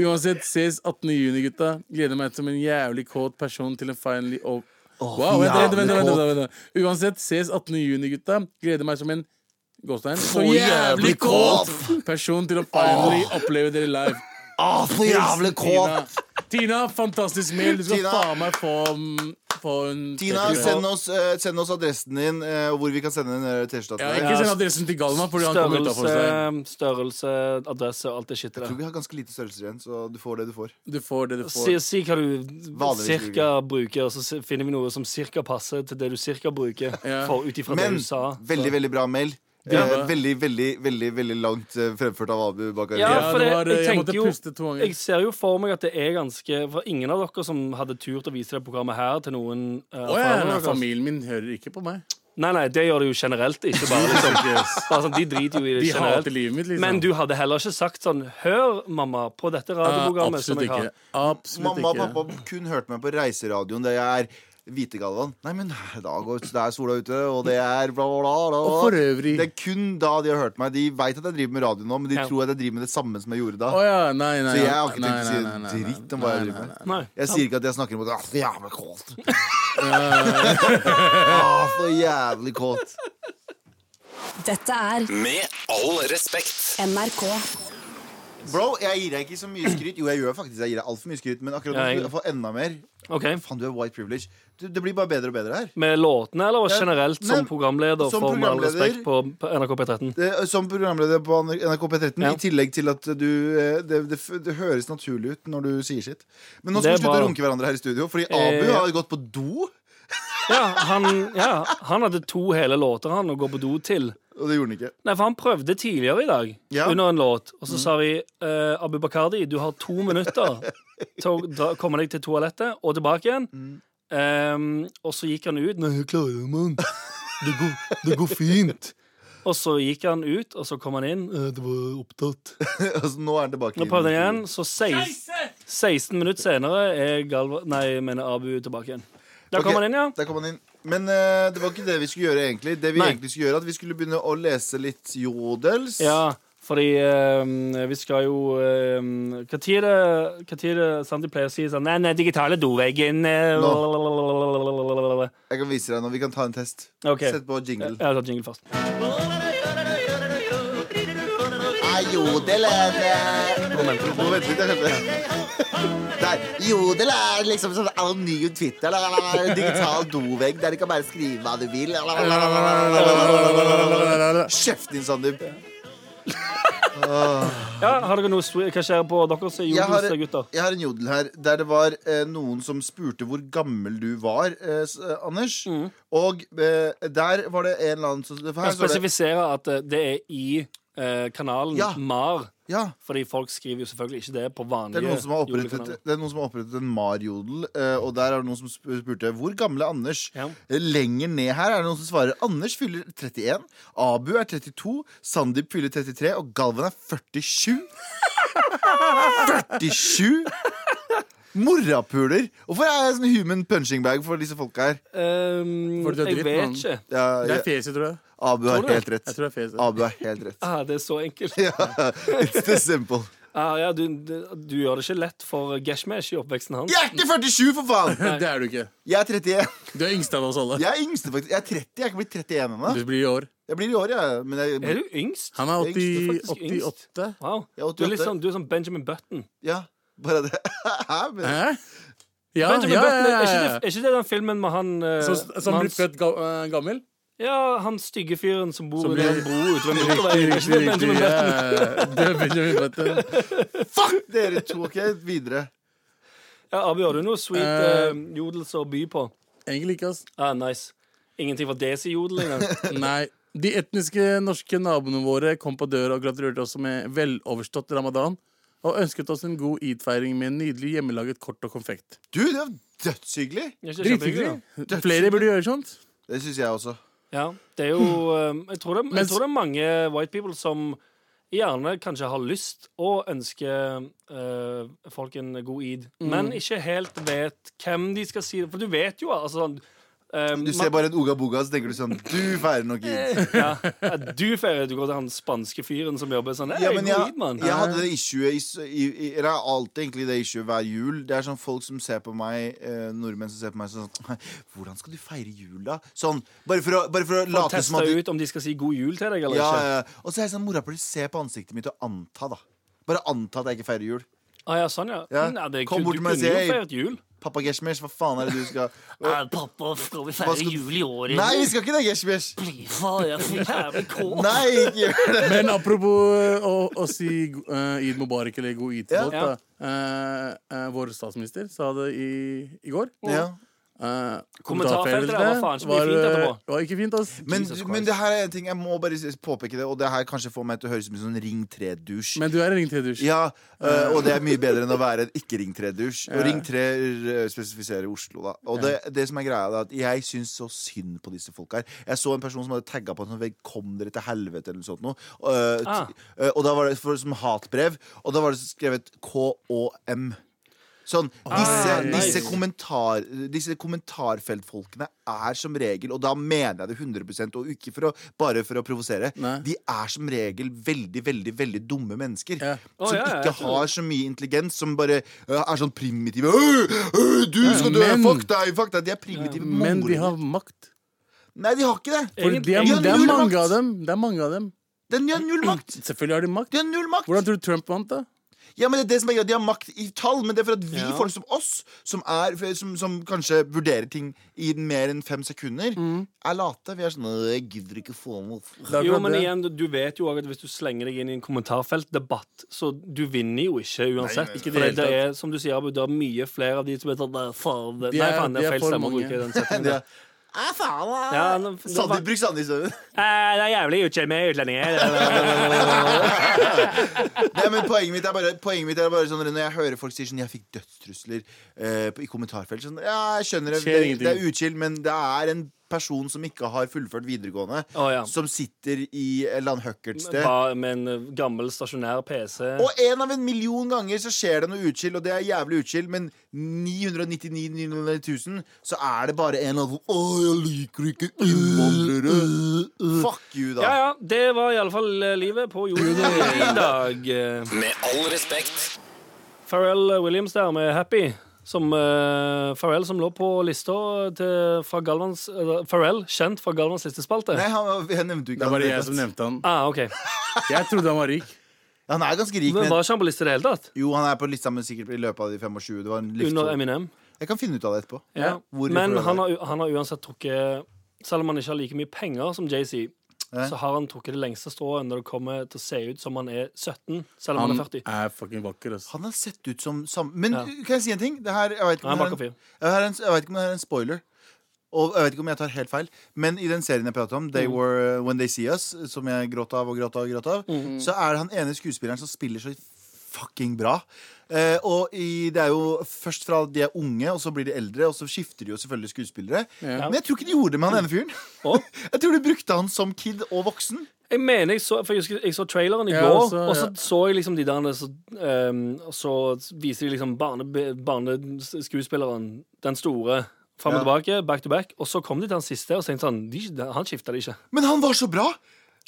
[SPEAKER 3] Uansett, ses 18. juni, gutta. Gleder meg som en jævlig kåt person til en finally over... wow, vent, vent, vent, vent, vent, vent, vent. Uansett, ses 18. juni, gutta. Gleder meg som en Gåstein. Så jævlig kåt person til å finally oppleve dere live.
[SPEAKER 2] Å, så Ah, jævlig kåt!
[SPEAKER 3] Tina. Tina, fantastisk mail. Du skal
[SPEAKER 2] Tina.
[SPEAKER 3] faen meg få, få en
[SPEAKER 2] Tina,
[SPEAKER 3] T-skjorte.
[SPEAKER 2] send oss, eh, send oss adressen din, eh, og hvor vi kan sende den eh, T-skjorta
[SPEAKER 3] ja,
[SPEAKER 2] til deg.
[SPEAKER 3] Ikke send adressen til Galma, fordi han kommer utafor
[SPEAKER 5] Størrelse,
[SPEAKER 3] seg.
[SPEAKER 5] størrelse, adresse og alt det shitet
[SPEAKER 2] Jeg tror
[SPEAKER 5] der.
[SPEAKER 2] vi har ganske lite størrelser igjen, så du får det du får.
[SPEAKER 3] Du får det du
[SPEAKER 5] Si,
[SPEAKER 3] får.
[SPEAKER 5] si hva du
[SPEAKER 2] Vanligvis
[SPEAKER 5] cirka bruker, og så si- finner vi noe som cirka passer til det du cirka bruker.
[SPEAKER 3] Ja.
[SPEAKER 5] For ut ifra det
[SPEAKER 2] Men
[SPEAKER 5] du sa.
[SPEAKER 2] veldig, veldig bra mail.
[SPEAKER 3] Ja.
[SPEAKER 2] Eh, veldig, veldig, veldig veldig langt eh, fremført av Abu Bakari.
[SPEAKER 5] Ja,
[SPEAKER 3] Ja,
[SPEAKER 5] for
[SPEAKER 3] det
[SPEAKER 5] det-
[SPEAKER 3] var,
[SPEAKER 5] jeg
[SPEAKER 3] jeg,
[SPEAKER 5] tenker
[SPEAKER 3] måtte
[SPEAKER 5] jo-
[SPEAKER 3] puste to ganger.
[SPEAKER 5] Jeg ser jo for meg at det er ganske For ingen av dere som hadde turt å vise det programmet her til noen eh,
[SPEAKER 3] Å ja,
[SPEAKER 5] foreldre
[SPEAKER 3] nei,
[SPEAKER 5] deres.
[SPEAKER 3] familien min hører ikke på meg.
[SPEAKER 5] Nei, nei, det gjør det jo generelt. Ikke bare liksom bare sånn, De driter jo i det
[SPEAKER 3] De
[SPEAKER 5] generelt.
[SPEAKER 3] hater livet mitt, liksom. Eh,
[SPEAKER 5] Men du hadde heller ikke sagt sånn Hør, mamma, på dette radioprogrammet som
[SPEAKER 3] absolutt
[SPEAKER 5] jeg har.
[SPEAKER 3] ikke. Absolutt
[SPEAKER 2] Mamma og
[SPEAKER 3] ikke.
[SPEAKER 2] pappa kun hørte meg på reiseradioen der jeg er Hvitegalvan. Nei, men da går det er sola ute, og det er bla, bla, bla. bla.
[SPEAKER 3] Og for øvrig
[SPEAKER 2] Det er kun da de har hørt meg. De veit at jeg driver med radio nå, men de
[SPEAKER 5] Ja.
[SPEAKER 2] tror at jeg driver med det samme som jeg gjorde
[SPEAKER 3] Å
[SPEAKER 2] da.
[SPEAKER 3] ja, nei, nei.
[SPEAKER 2] Så jeg har ikke
[SPEAKER 3] nei,
[SPEAKER 2] tenkt å si
[SPEAKER 3] nei, nei, nei,
[SPEAKER 2] dritt om hva jeg
[SPEAKER 3] nei,
[SPEAKER 2] driver med.
[SPEAKER 3] nei,
[SPEAKER 5] Nei.
[SPEAKER 2] Jeg
[SPEAKER 5] sant.
[SPEAKER 2] sier ikke at jeg snakker imot det. Ah, så jævlig kåt. ah, så jævlig kåt.
[SPEAKER 7] Dette er
[SPEAKER 1] Med all respekt.
[SPEAKER 7] NRK.
[SPEAKER 2] Bro, jeg gir deg ikke så mye skryt. Jo, jeg gjør faktisk jeg gir deg altfor mye skryt, men akkurat nå
[SPEAKER 5] Ja, jeg-
[SPEAKER 2] skal du få enda mer.
[SPEAKER 5] Ok,
[SPEAKER 2] Faen, du er white privilege. Du, det blir bare bedre og bedre her.
[SPEAKER 5] Med låtene, eller
[SPEAKER 2] Ja,
[SPEAKER 5] generelt som
[SPEAKER 2] nei,
[SPEAKER 5] programleder,
[SPEAKER 2] som
[SPEAKER 5] for med all
[SPEAKER 2] programleder-
[SPEAKER 5] respekt på på NRK P13?
[SPEAKER 2] Det, eh, som programleder på NRK P13,
[SPEAKER 5] Ja.
[SPEAKER 2] i tillegg til at du eh, det, det, f- det høres naturlig ut når du sier sitt. Men nå skal
[SPEAKER 5] Det
[SPEAKER 2] vi slutte
[SPEAKER 5] var-
[SPEAKER 2] å runke hverandre her i studio, fordi Abu
[SPEAKER 5] Eh,
[SPEAKER 2] har gått på do,
[SPEAKER 5] Ja han, ja, han hadde to hele låter han å gå på do til.
[SPEAKER 2] og det gjorde han ikke.
[SPEAKER 5] Nei, for han prøvde tidligere i dag
[SPEAKER 2] Ja.
[SPEAKER 5] under en låt,
[SPEAKER 4] Mm.
[SPEAKER 5] og så sa vi eh, Abu Bakardi, du har to minutter til å dra, komme deg til toalettet og tilbake igjen. Ehm, og så gikk han ut,
[SPEAKER 4] Mm. Nei, jeg klarer det, mann. Det går, det går fint.
[SPEAKER 5] og så gikk han ut, og så kom han inn.
[SPEAKER 4] Eh, Det var opptatt.
[SPEAKER 2] altså, nå er han tilbake.
[SPEAKER 5] Nå
[SPEAKER 2] inn.
[SPEAKER 5] prøvde han igjen, så 16, 16 minutter senere er Galva, nei, jeg mener Abu tilbake igjen. Da
[SPEAKER 2] Ok.
[SPEAKER 5] kom han inn, ja.
[SPEAKER 2] Der kom han inn. Men eh, det var ikke det vi skulle gjøre, egentlig. Det vi
[SPEAKER 5] Nei.
[SPEAKER 2] egentlig skulle gjøre, at vi skulle begynne å lese litt jodels.
[SPEAKER 5] Ja, fordi ehm, vi skal jo ehm, Hva tid er det hva tid er det Sandi pleier å si sånn Nei, nei, digitale doveggen eh,
[SPEAKER 2] Jeg kan vise deg nå. Vi kan ta en test.
[SPEAKER 5] Ok.
[SPEAKER 2] Sett på jingle.
[SPEAKER 5] Jeg tar jingle først.
[SPEAKER 2] Er Jodel er Nå vent litt, jeg skjønte Der, Jodel er liksom som anonym Twitter. La, la, la, digital dovegg der du kan bare skrive hva du vil. La, la, la, la, la, la, la, la, la, la, la, la, la. Kjeft din, Sandeep.
[SPEAKER 5] Ja, har dere noe swe- Hva skjer på deres
[SPEAKER 2] Jeg har,
[SPEAKER 5] jordgutter?
[SPEAKER 2] jeg har en jodel her der det var eh, noen som spurte hvor gammel du var, eh, s- eh, Anders. Og eh, der var det en eller annen som her
[SPEAKER 5] Kan
[SPEAKER 2] står det-
[SPEAKER 5] spesifisere at eh, det er i eh, kanalen
[SPEAKER 2] Ja.
[SPEAKER 5] MAR.
[SPEAKER 2] Ja,
[SPEAKER 5] Fordi folk skriver jo selvfølgelig ikke det på
[SPEAKER 2] det
[SPEAKER 5] vanlige
[SPEAKER 2] er, noen som har opprettet,
[SPEAKER 5] jordkanaler.
[SPEAKER 2] det er noen som har opprettet en Mar-jodel, eh, og der er det noen som sp- spurte hvor gammel er Anders.
[SPEAKER 5] Ja.
[SPEAKER 2] Eh, Lenger ned her er det noen som svarer Anders fyller 31, Abu er 32, Sandeep fyller 33, og Galvan er 47. 47! Morapuler! Hvorfor er jeg sånn human punching bag for disse folka her?
[SPEAKER 5] Ehm,
[SPEAKER 3] For det er
[SPEAKER 5] jeg
[SPEAKER 3] dritt,
[SPEAKER 5] vet
[SPEAKER 3] mann.
[SPEAKER 5] ikke.
[SPEAKER 2] Ja,
[SPEAKER 3] Det er fjeset, tror jeg.
[SPEAKER 2] Abu har
[SPEAKER 5] Tror du?
[SPEAKER 2] helt rett.
[SPEAKER 3] Jeg tror det er fjeset.
[SPEAKER 2] Abu har helt rett.
[SPEAKER 5] Ah, det er så enkelt.
[SPEAKER 2] It's the simple.
[SPEAKER 5] Ah, ja, du, du gjør det ikke lett for Geshmesh i oppveksten hans.
[SPEAKER 2] Jeg er ikke 47, for faen!
[SPEAKER 3] Det er du ikke.
[SPEAKER 2] Jeg er 31.
[SPEAKER 3] Du er yngst av oss alle.
[SPEAKER 2] Jeg er yngste, faktisk. Jeg er 30. Jeg er ikke blitt 31 ennå.
[SPEAKER 3] Du blir i år.
[SPEAKER 2] Jeg blir i år, jeg. Men jeg,
[SPEAKER 5] Er du yngst?
[SPEAKER 3] Han er 80,
[SPEAKER 2] Jeg
[SPEAKER 5] er faktisk yngst.
[SPEAKER 3] 88.
[SPEAKER 5] Wow.
[SPEAKER 2] Jeg er
[SPEAKER 5] Du er litt
[SPEAKER 2] 88.
[SPEAKER 5] sånn, du er sånn Benjamin Button.
[SPEAKER 2] Ja, bare det. Hæ? Men,
[SPEAKER 3] Hæ? Ja,
[SPEAKER 5] Benjamin
[SPEAKER 3] ja,
[SPEAKER 5] Button,
[SPEAKER 3] ja,
[SPEAKER 5] er, ikke
[SPEAKER 3] ja,
[SPEAKER 5] det, er ikke det den filmen med han eh,
[SPEAKER 3] Som, som
[SPEAKER 5] med
[SPEAKER 3] blir
[SPEAKER 5] han-
[SPEAKER 3] født ga, eh, gammel?
[SPEAKER 5] Ja, han stygge fyren som bor
[SPEAKER 3] Som
[SPEAKER 5] i en
[SPEAKER 3] blir-
[SPEAKER 5] bro ute ved
[SPEAKER 3] Riktig,
[SPEAKER 5] motorveien. Er ikke
[SPEAKER 3] riktig.
[SPEAKER 5] det
[SPEAKER 3] riktig
[SPEAKER 5] Benjamin
[SPEAKER 3] ja,
[SPEAKER 5] Button?
[SPEAKER 3] ja. Det er Benjamin Button.
[SPEAKER 2] fuck dere to, OK? Videre.
[SPEAKER 5] Ja, Abu, har du noe sweet
[SPEAKER 3] Eh,
[SPEAKER 5] uh, jodels å by på?
[SPEAKER 3] Egentlig ikke, ass.
[SPEAKER 5] Ah, nice. Ingenting for Desi-jodel engang.
[SPEAKER 3] Nei. De etniske norske naboene våre kom på døra og gratulerte oss med veloverstått ramadan. Og ønsket oss en god id-feiring med en nydelig hjemmelaget kort og konfekt.
[SPEAKER 2] Du, det var dødshyggelig.
[SPEAKER 5] Det er ikke
[SPEAKER 3] Drithyggelig.
[SPEAKER 5] kjempehyggelig,
[SPEAKER 3] Flere burde gjøre sånt.
[SPEAKER 2] Det syns jeg også.
[SPEAKER 5] da. Ja, det er jo eh, jeg tror det, jeg
[SPEAKER 3] Mens-
[SPEAKER 5] tror det er mange white people som gjerne kanskje har lyst og ønsker eh, folk en god id,
[SPEAKER 3] Mm.
[SPEAKER 5] men ikke helt vet hvem de skal si det For du vet jo, altså eh,
[SPEAKER 2] Du ser
[SPEAKER 5] man- Eh,
[SPEAKER 2] bare en Oga Boga, så tenker du sånn Du feirer nok id.
[SPEAKER 5] ja, ja, Du feirer du går til han spanske fyren som jobber sånn. Hey,
[SPEAKER 2] Ja, men
[SPEAKER 5] god Eh.
[SPEAKER 2] jeg,
[SPEAKER 5] id, mann.
[SPEAKER 2] jeg hadde det issuet i, s- i, i, Eller jeg har alltid egentlig det issuet hver jul. Det er sånn folk som ser på meg, eh, nordmenn som ser på meg sånn Hvordan skal du feire jul, da? Sånn. Bare for å, bare for å late som
[SPEAKER 5] Testa
[SPEAKER 2] at du
[SPEAKER 5] ut om de skal si god jul til deg eller
[SPEAKER 2] ja,
[SPEAKER 5] ikke.
[SPEAKER 2] ja. Og så er jeg sånn Morapuler, se på ansiktet mitt og anta, da. Bare anta at jeg ikke feirer jul.
[SPEAKER 5] Ah, ja, sånn, ja.
[SPEAKER 2] Ja.
[SPEAKER 5] Mm, ja det,
[SPEAKER 2] Kom
[SPEAKER 5] Kom
[SPEAKER 2] bort
[SPEAKER 5] bort
[SPEAKER 2] til meg og
[SPEAKER 5] du kunne
[SPEAKER 2] si,
[SPEAKER 5] jo
[SPEAKER 2] «Hey».
[SPEAKER 5] feiret jul.
[SPEAKER 2] Pappa Geshmesh, hva faen er det du skal
[SPEAKER 8] Nei, pappa, skal vi
[SPEAKER 2] Hva
[SPEAKER 8] feire
[SPEAKER 2] skal-
[SPEAKER 8] jul i år
[SPEAKER 2] Nei, vi skal ikke det, Geshmesh!
[SPEAKER 8] Fy faen, jeg er så jævlig kåt.
[SPEAKER 2] Nei, ikke gjør det!
[SPEAKER 3] Men apropos eh, å, å si eh, Eid Mubarak eller god eid til
[SPEAKER 2] Ja.
[SPEAKER 3] folk, da. Eh, eh, vår statsminister sa det i, i går.
[SPEAKER 2] Ja.
[SPEAKER 3] Eh,
[SPEAKER 5] Kommentarfeltet der var faen ikke mye
[SPEAKER 3] var,
[SPEAKER 5] fint
[SPEAKER 3] eh,
[SPEAKER 5] etterpå.
[SPEAKER 3] var ikke fint, ass.
[SPEAKER 2] Men,
[SPEAKER 5] Jesus Christ.
[SPEAKER 2] men det her er en ting, jeg må bare s- påpeke det, og det her kanskje får meg til å høres ut som en sånn Ring 3-dusj.
[SPEAKER 3] Men du er en ring til dusj.
[SPEAKER 2] Ja, øh, og det er mye bedre enn å være en ikke-Ring 3-dusj. Og Ring 3 øh, spesifiserer Oslo, da. Og det, det som er greia, det er at jeg syns så synd på disse folka her. Jeg så en person som hadde tagga på en sånn vegg 'Kom dere til helvete' eller noe sånt noe. Og, øh,
[SPEAKER 5] Ah.
[SPEAKER 2] t- øh, og da var det for, som hatbrev, og da var det skrevet KOM. Sånn, disse,
[SPEAKER 5] nice.
[SPEAKER 2] disse, kommentar, disse kommentarfeltfolkene er som regel, og da mener jeg det 100 og ikke for å, bare for å provosere,
[SPEAKER 3] Nei.
[SPEAKER 2] de er som regel veldig, veldig veldig dumme mennesker.
[SPEAKER 3] Ja.
[SPEAKER 5] Å,
[SPEAKER 2] Som
[SPEAKER 5] ja, ja,
[SPEAKER 2] ikke
[SPEAKER 5] jeg tror
[SPEAKER 2] har så mye intelligens, som bare øh, er sånn primitive. Øh, øh, du skal dø!
[SPEAKER 3] men-
[SPEAKER 2] Fuck deg! Fuck deg! De er primitive
[SPEAKER 3] Men de
[SPEAKER 2] mongoler.
[SPEAKER 3] har makt.
[SPEAKER 2] Nei, de har ikke det!
[SPEAKER 3] For
[SPEAKER 5] Egentlig-
[SPEAKER 3] de er,
[SPEAKER 2] egentlig
[SPEAKER 3] det,
[SPEAKER 2] null
[SPEAKER 3] er mange
[SPEAKER 2] makt.
[SPEAKER 3] av dem. det er mange av dem.
[SPEAKER 2] De har null makt!
[SPEAKER 3] Selvfølgelig har de makt.
[SPEAKER 2] De har null makt!
[SPEAKER 3] Hvordan tror du Trump vant, da?
[SPEAKER 2] Ja, men det er det som er greit, De har makt i tall, men det er for at vi
[SPEAKER 5] Ja.
[SPEAKER 2] folk som oss, som, er, som, som kanskje vurderer ting i mer enn fem sekunder,
[SPEAKER 3] Mm.
[SPEAKER 2] er late. Vi er sånn «Åh, Jeg gidder ikke få noe
[SPEAKER 3] Det er
[SPEAKER 5] Jo,
[SPEAKER 3] akkurat
[SPEAKER 5] men
[SPEAKER 3] det.
[SPEAKER 5] igjen, du- du vet jo også at hvis du slenger deg inn i en kommentarfeltdebatt, så du vinner jo ikke uansett.
[SPEAKER 3] det
[SPEAKER 5] For
[SPEAKER 3] hele
[SPEAKER 5] det, er, som du sier, Abu, det er mye flere av de som er sånn Nei, faen, det,
[SPEAKER 3] De
[SPEAKER 5] nei,
[SPEAKER 3] er-
[SPEAKER 5] faen, det
[SPEAKER 3] de
[SPEAKER 5] er
[SPEAKER 3] er
[SPEAKER 5] feil
[SPEAKER 3] for
[SPEAKER 5] stemme å
[SPEAKER 3] mange.
[SPEAKER 5] bruke i den setningen.
[SPEAKER 2] Ja.
[SPEAKER 5] der. Ja, nå- nå-
[SPEAKER 2] Sandeep, Bruk Sandeep søren.
[SPEAKER 5] Eh, det er jævlig ukjent med utlendinger.
[SPEAKER 2] Nei, men poenget mitt er bare, poenget mitt er bare sånn Når jeg hører folk sier sånn Jeg fikk dødstrusler eh, på- i kommentarfelt sånn, Ja, jeg skjønner det,
[SPEAKER 3] Skjer
[SPEAKER 2] det, det er
[SPEAKER 3] ingenting.
[SPEAKER 2] utskilt Men det er en person som ikke har fullført videregående
[SPEAKER 5] Å, ja.
[SPEAKER 2] Som sitter i et eller annet høkkert sted
[SPEAKER 5] Bare med en eh, gammel, stasjonær PC.
[SPEAKER 2] Og en av en million ganger så skjer det noe utskill, og det er jævlig utskill, men 999 999 000, så er det bare en av dem Å, jeg liker ikke innvandrere. Fuck you, da.
[SPEAKER 5] Ja, ja, det var iallfall eh, livet på jorda i dag. Eh,
[SPEAKER 1] Med all respekt.
[SPEAKER 5] Pharrell Williams der med Happy. Som eh, Pharrell som lå på lista til, fra Galvans eh, Pharrell, kjent fra Galvans listespalte.
[SPEAKER 2] Nei, han, jeg nevnte jo ikke
[SPEAKER 3] Det var
[SPEAKER 2] han.
[SPEAKER 3] jeg som nevnte han.
[SPEAKER 5] Ah, ok
[SPEAKER 3] Jeg trodde han var rik.
[SPEAKER 2] Han er ganske rik,
[SPEAKER 5] Men
[SPEAKER 2] men
[SPEAKER 5] var ikke han på lista i det hele tatt?
[SPEAKER 2] jo, han er på lista, men sikkert i løpet av de 25. Det var en livstid.
[SPEAKER 5] Under Eminem.
[SPEAKER 2] Jeg kan finne ut av det etterpå.
[SPEAKER 5] Ja.
[SPEAKER 2] Hvor vi
[SPEAKER 5] Men
[SPEAKER 2] får det
[SPEAKER 5] han
[SPEAKER 2] der.
[SPEAKER 5] har, han har uansett trukket Selv om han ikke har like mye penger som JC,
[SPEAKER 2] Nei.
[SPEAKER 5] så har han trukket det lengste strået når det kommer til å se ut som han er 17, selv om han,
[SPEAKER 3] Han
[SPEAKER 5] er 40.
[SPEAKER 3] er fucking vakker, ass.
[SPEAKER 2] Han har sett ut som sam... Men
[SPEAKER 5] Ja.
[SPEAKER 2] kan jeg si en ting? Det her, jeg vet ikke
[SPEAKER 5] Han
[SPEAKER 2] om
[SPEAKER 5] er
[SPEAKER 2] det
[SPEAKER 5] vakker
[SPEAKER 2] er
[SPEAKER 5] fyr.
[SPEAKER 2] en, jeg har en, jeg vet ikke om det er en spoiler. Og jeg vet ikke om jeg tar helt feil, men i den serien jeg prater om,
[SPEAKER 5] Mm.
[SPEAKER 2] They Were uh, When They See Us, som jeg gråt av og gråt av, og gråt av
[SPEAKER 5] Mm.
[SPEAKER 2] så er han ene skuespilleren som spiller så fucking bra. Eh, og i, det er jo først fra de er unge, og så blir de eldre, og så skifter de jo selvfølgelig skuespillere. Men jeg tror ikke de gjorde det med han ene fyren.
[SPEAKER 5] Og?
[SPEAKER 2] jeg tror de brukte han som kid og voksen.
[SPEAKER 5] Jeg mener, jeg så, for jeg husker jeg så traileren i
[SPEAKER 3] Ja,
[SPEAKER 5] går,
[SPEAKER 3] altså,
[SPEAKER 5] og så
[SPEAKER 3] ja.
[SPEAKER 5] så jeg liksom de der Så, ehm, og så viser de liksom barne- barneskuespilleren, den store, fram
[SPEAKER 2] Ja.
[SPEAKER 5] og tilbake, back to back, og så kom de til han siste, og så tenkte jeg sånn de, Han skifta det ikke.
[SPEAKER 2] Men han var så bra!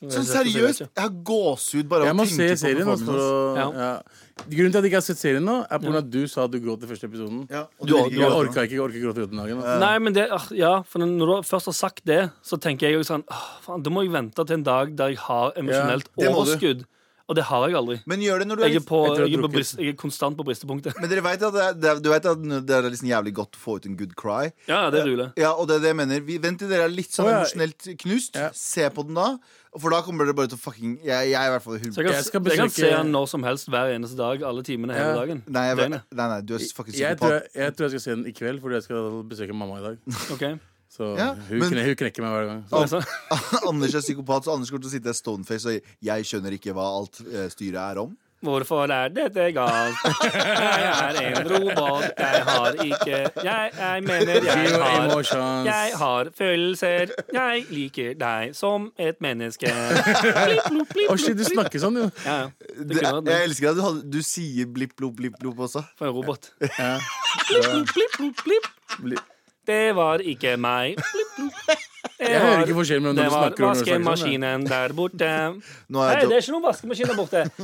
[SPEAKER 2] Sånn
[SPEAKER 5] jeg- jeg vet
[SPEAKER 2] seriøst.
[SPEAKER 5] ikke.
[SPEAKER 2] Jeg har gåsehud bare
[SPEAKER 3] Jeg
[SPEAKER 2] av
[SPEAKER 3] må
[SPEAKER 2] å
[SPEAKER 3] se
[SPEAKER 2] tenke på
[SPEAKER 3] serien.
[SPEAKER 2] performance
[SPEAKER 3] Altså. Ja.
[SPEAKER 5] Ja.
[SPEAKER 3] Grunnen til at jeg ikke har sett serien nå, er pga. at du sa at du gråt i første episoden.
[SPEAKER 2] Ja, og
[SPEAKER 3] Du,
[SPEAKER 2] du vil ikke
[SPEAKER 3] du
[SPEAKER 2] gråte nå.
[SPEAKER 3] orka ikke orker ikke gråte den dagen. ass.
[SPEAKER 5] Nei, men det, ah, ja, for når du først har sagt det, så tenker jeg jo sånn «Åh, faen, Da må jeg vente til en dag der jeg har emosjonelt
[SPEAKER 2] det må du.
[SPEAKER 5] overskudd. Og det har jeg aldri.
[SPEAKER 2] Men gjør det når du er
[SPEAKER 5] Jeg er,
[SPEAKER 2] litt
[SPEAKER 5] på,
[SPEAKER 3] Etter å ha
[SPEAKER 5] jeg er, på
[SPEAKER 3] drukket.
[SPEAKER 5] brist, jeg er konstant på bristepunktet.
[SPEAKER 2] Men dere vet at det er, det er, du vet at det er liksom jævlig godt å få ut en good cry.
[SPEAKER 5] Ja, det ruler.
[SPEAKER 2] Ja, og det er det jeg mener. Vi, vent til dere er litt sånn
[SPEAKER 3] Å, ja.
[SPEAKER 2] emosjonelt knust.
[SPEAKER 3] Ja.
[SPEAKER 2] Se på den da. For da kommer dere bare til å fucking Jeg, jeg er i hvert fall
[SPEAKER 5] Så jeg kan,
[SPEAKER 3] Jeg
[SPEAKER 5] jeg
[SPEAKER 3] skal
[SPEAKER 5] jeg kan se
[SPEAKER 3] besøke-
[SPEAKER 5] han når som helst hver eneste dag, alle timene hele
[SPEAKER 3] Ja.
[SPEAKER 5] dagen.
[SPEAKER 2] Nei, jeg, nei,
[SPEAKER 5] Døgnet.
[SPEAKER 2] nei, du er fucking
[SPEAKER 3] Jeg tror jeg,
[SPEAKER 2] psykopat.
[SPEAKER 3] jeg tror jeg skal se den i kveld, fordi jeg skal besøke mamma i dag.
[SPEAKER 5] Ok.
[SPEAKER 3] Så
[SPEAKER 2] Ja,
[SPEAKER 3] hun,
[SPEAKER 2] men-
[SPEAKER 3] kne, hun knekker meg hver gang. Så.
[SPEAKER 5] Altså,
[SPEAKER 2] Anders er psykopat, så Anders kommer til å sitte stoneface og jeg skjønner ikke hva alt eh, styret er om.
[SPEAKER 5] Hvorfor er dette galt? Jeg er en robot, jeg har ikke Jeg, jeg mener jeg
[SPEAKER 3] Zero
[SPEAKER 5] har
[SPEAKER 3] emotions.
[SPEAKER 5] Jeg har følelser. Jeg liker deg som et menneske. Blipp, blopp, blipp,
[SPEAKER 3] Å, shit, du
[SPEAKER 5] blopp, blipp.
[SPEAKER 3] snakker sånn, jo.
[SPEAKER 5] Ja, ja.
[SPEAKER 2] Det,
[SPEAKER 5] kunne vært
[SPEAKER 2] jeg elsker at du, hadde- du sier blipp, blopp, blipp, blopp også.
[SPEAKER 5] For en robot.
[SPEAKER 3] Ja.
[SPEAKER 5] Blipp, blopp, blipp, blopp, blipp.
[SPEAKER 3] Blipp.
[SPEAKER 5] Det var ikke meg. Blipp, blopp. Det
[SPEAKER 3] Jeg hører
[SPEAKER 5] var-
[SPEAKER 3] ikke forskjellen mellom
[SPEAKER 5] Det
[SPEAKER 3] når du
[SPEAKER 5] var
[SPEAKER 3] snakker og når du snakker sånn. jeg.
[SPEAKER 5] vaskemaskinen der borte.
[SPEAKER 2] Nå
[SPEAKER 5] Hei,
[SPEAKER 2] er,
[SPEAKER 5] det
[SPEAKER 2] jo-
[SPEAKER 5] er ikke noen vaskemaskin der borte.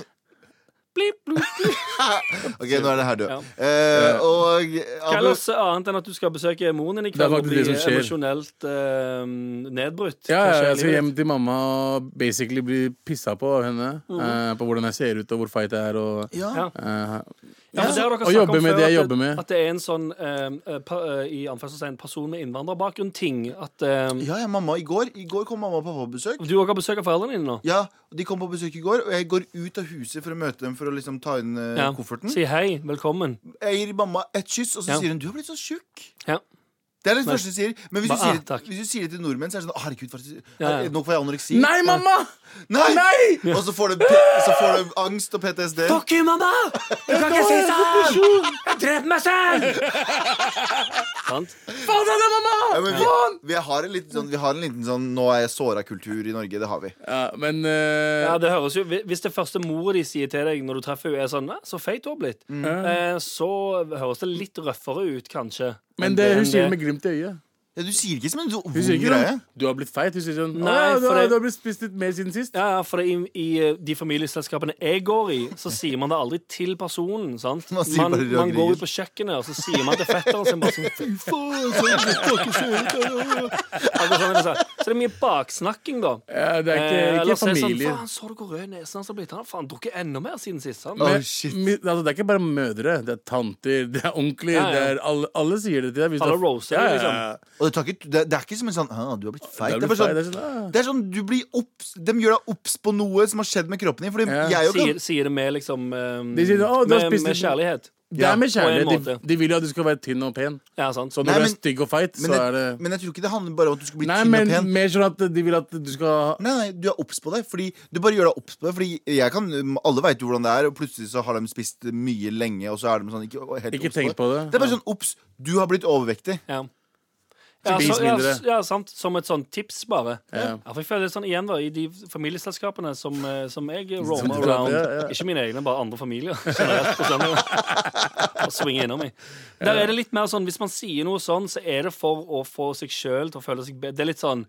[SPEAKER 5] Blipp, blopp, blipp.
[SPEAKER 2] Ok, nå er det her, du.
[SPEAKER 5] Ja.
[SPEAKER 2] Eh, og Abu,
[SPEAKER 5] Hva ellers annet enn at du skal besøke moren din i
[SPEAKER 3] Det er
[SPEAKER 5] kveld og
[SPEAKER 3] faktisk
[SPEAKER 5] bli
[SPEAKER 3] det som skjer.
[SPEAKER 5] emosjonelt eh, nedbrutt?
[SPEAKER 3] Ja, ja,
[SPEAKER 5] kanskje,
[SPEAKER 3] jeg skal
[SPEAKER 5] i livet?
[SPEAKER 3] hjem til mamma og basically bli pissa på av henne.
[SPEAKER 5] Mhm.
[SPEAKER 3] eh, på hvordan jeg ser ut, og hvor feit jeg er, og
[SPEAKER 2] ja.
[SPEAKER 3] eh,
[SPEAKER 5] Ja, for det har dere
[SPEAKER 3] Og
[SPEAKER 5] snakket
[SPEAKER 3] jobbe
[SPEAKER 5] om
[SPEAKER 3] med
[SPEAKER 5] før,
[SPEAKER 3] det jeg
[SPEAKER 5] at
[SPEAKER 3] jobber med.
[SPEAKER 5] At det er en sånn eh, eh, pa, eh, i anførselstegn person med innvandrerbakgrunn-ting. At eh,
[SPEAKER 2] ja, ja, mamma i går. I går kom mamma og pappa på besøk.
[SPEAKER 5] du òg har besøk av foreldrene dine nå.
[SPEAKER 2] Ja, og De kom på besøk i går, og jeg går ut av huset for å møte dem. For å liksom ta inn eh,
[SPEAKER 5] Ja.
[SPEAKER 2] kofferten
[SPEAKER 5] Si hei, velkommen.
[SPEAKER 2] Jeg gir mamma et kyss, og så
[SPEAKER 5] Ja.
[SPEAKER 2] sier hun 'du har blitt så tjukk'.
[SPEAKER 5] Ja.
[SPEAKER 2] Det er det første hun sier. Men hvis
[SPEAKER 5] Ba-
[SPEAKER 2] du sier,
[SPEAKER 5] ah, takk.
[SPEAKER 2] hvis du sier det til nordmenn, så er det sånn «Å, 'herregud, faktisk,
[SPEAKER 5] Ja, ja.
[SPEAKER 2] nå får jeg anoreksi'.
[SPEAKER 3] Nei, mamma!
[SPEAKER 2] Nei!
[SPEAKER 3] Nei!
[SPEAKER 2] Og så får, du, pe- så får du angst og PTSD.
[SPEAKER 8] Fuck you, mamma! Du kan ikke si sånn! Jeg dreper meg selv!
[SPEAKER 5] Sant?
[SPEAKER 3] Faen, det er mamma!
[SPEAKER 2] Ja, men vi, vi, har en liten sånn, vi har en liten sånn 'nå er jeg såra'-kultur i Norge. Det har vi.
[SPEAKER 3] Ja, men eh,
[SPEAKER 5] Ja, det høres jo hvi- Hvis det første moret de sier til deg når du treffer henne, er sånn «Nei, 'Så feit du har blitt',
[SPEAKER 3] Mm.
[SPEAKER 5] eh, så høres det litt røffere ut, kanskje. enn
[SPEAKER 3] Men det, hun
[SPEAKER 5] enn
[SPEAKER 3] sier det med glimt i øyet.
[SPEAKER 2] Ja, du sier ikke som en så vond
[SPEAKER 3] Hun sier ikke
[SPEAKER 2] greie.
[SPEAKER 3] sånn, du har blitt feit. Hun sier sånn,
[SPEAKER 5] Nei,
[SPEAKER 3] Nei, du,
[SPEAKER 5] for
[SPEAKER 3] har-
[SPEAKER 5] det-
[SPEAKER 3] du har blitt spist litt mer siden sist.
[SPEAKER 5] Ja, ja, for i, i eh, de familieselskapene jeg går i, så sier man det aldri til personen. sant?
[SPEAKER 2] Man sier
[SPEAKER 5] Man,
[SPEAKER 2] bare
[SPEAKER 5] man går
[SPEAKER 2] ragerier.
[SPEAKER 5] ut på kjøkkenet, og så sier man til fetteren sin bare sånn Fy faen, så gutt har ikke sett det». Akkurat sånn er det Så Så det er mye baksnakking, da.
[SPEAKER 3] Ja, det er ikke,
[SPEAKER 5] Eh,
[SPEAKER 3] ikke
[SPEAKER 5] eller så er det
[SPEAKER 3] familie.
[SPEAKER 5] Sånn, faen, så du hvor rød nesen hans har blitt? Han har faen drukket enda mer siden sist. sant?
[SPEAKER 2] Å,
[SPEAKER 3] Men-
[SPEAKER 2] shit.
[SPEAKER 3] mi- altså, det er ikke bare mødre. Det er tanter, det er onkler.
[SPEAKER 5] Ja, ja.
[SPEAKER 3] Det er, alle, alle sier det til deg. hvis
[SPEAKER 5] Alle
[SPEAKER 3] det er-
[SPEAKER 5] roser,
[SPEAKER 3] ja, ja,
[SPEAKER 5] liksom.
[SPEAKER 3] ja.
[SPEAKER 2] Og det, tar ikke, det, det er ikke som en sånn «Å, 'du har blitt
[SPEAKER 3] Det
[SPEAKER 2] feit'.
[SPEAKER 3] er
[SPEAKER 2] Det er
[SPEAKER 3] blitt
[SPEAKER 2] bare sånn,
[SPEAKER 3] feit, det er sånn, ah.
[SPEAKER 2] det er sånn du blir obs, De gjør deg obs på noe som har skjedd med kroppen din. Fordi
[SPEAKER 3] Ja.
[SPEAKER 2] jeg jo kan
[SPEAKER 5] Sier, sier det med liksom eh,
[SPEAKER 3] De sier, «Å, du har
[SPEAKER 5] med,
[SPEAKER 3] spist
[SPEAKER 5] med
[SPEAKER 3] litt-
[SPEAKER 5] kjærlighet.
[SPEAKER 3] Det er med
[SPEAKER 5] Ja, på en
[SPEAKER 3] kjærlighet. De,
[SPEAKER 5] måte.
[SPEAKER 3] de vil jo at du skal være tynn og pen.
[SPEAKER 5] Ja, sant?
[SPEAKER 3] Så når
[SPEAKER 2] Nei,
[SPEAKER 3] du er
[SPEAKER 2] men-
[SPEAKER 3] stygg og feit,
[SPEAKER 2] Men,
[SPEAKER 3] så er
[SPEAKER 2] det,
[SPEAKER 3] det
[SPEAKER 2] men jeg tror ikke det handler bare om at du skal bli
[SPEAKER 3] Nei,
[SPEAKER 2] tynn og
[SPEAKER 3] men
[SPEAKER 2] pen.
[SPEAKER 3] mer sånn at de vil at du skal
[SPEAKER 2] Nei, nei, Du er obs på det. Fordi du bare gjør deg obs på det. Fordi jeg kan, Alle veit jo hvordan det er, og plutselig så har de spist mye lenge. Og så er de sånn, ikke helt
[SPEAKER 3] Ikke
[SPEAKER 2] obs på det.
[SPEAKER 3] tenk på det.
[SPEAKER 2] Det er bare sånn obs. Du har blitt overvektig.
[SPEAKER 5] Ja. Ja,
[SPEAKER 3] Spis
[SPEAKER 5] så, ja,
[SPEAKER 3] mindre.
[SPEAKER 5] s- ja, sant. Som et sånn tips, bare.
[SPEAKER 3] Ja.
[SPEAKER 5] Ja, for jeg føler det sånn igjen da I de familieselskapene som, eh, som jeg roamer
[SPEAKER 3] Som du-
[SPEAKER 5] around
[SPEAKER 3] ja, ja.
[SPEAKER 5] Ikke mine egne, bare andre familier. generelt på søndager. Og svinger innom i. Der er det litt mer sånn Hvis man sier noe sånn, så er det for å få seg sjøl til å føle seg bedre. Det er litt sånn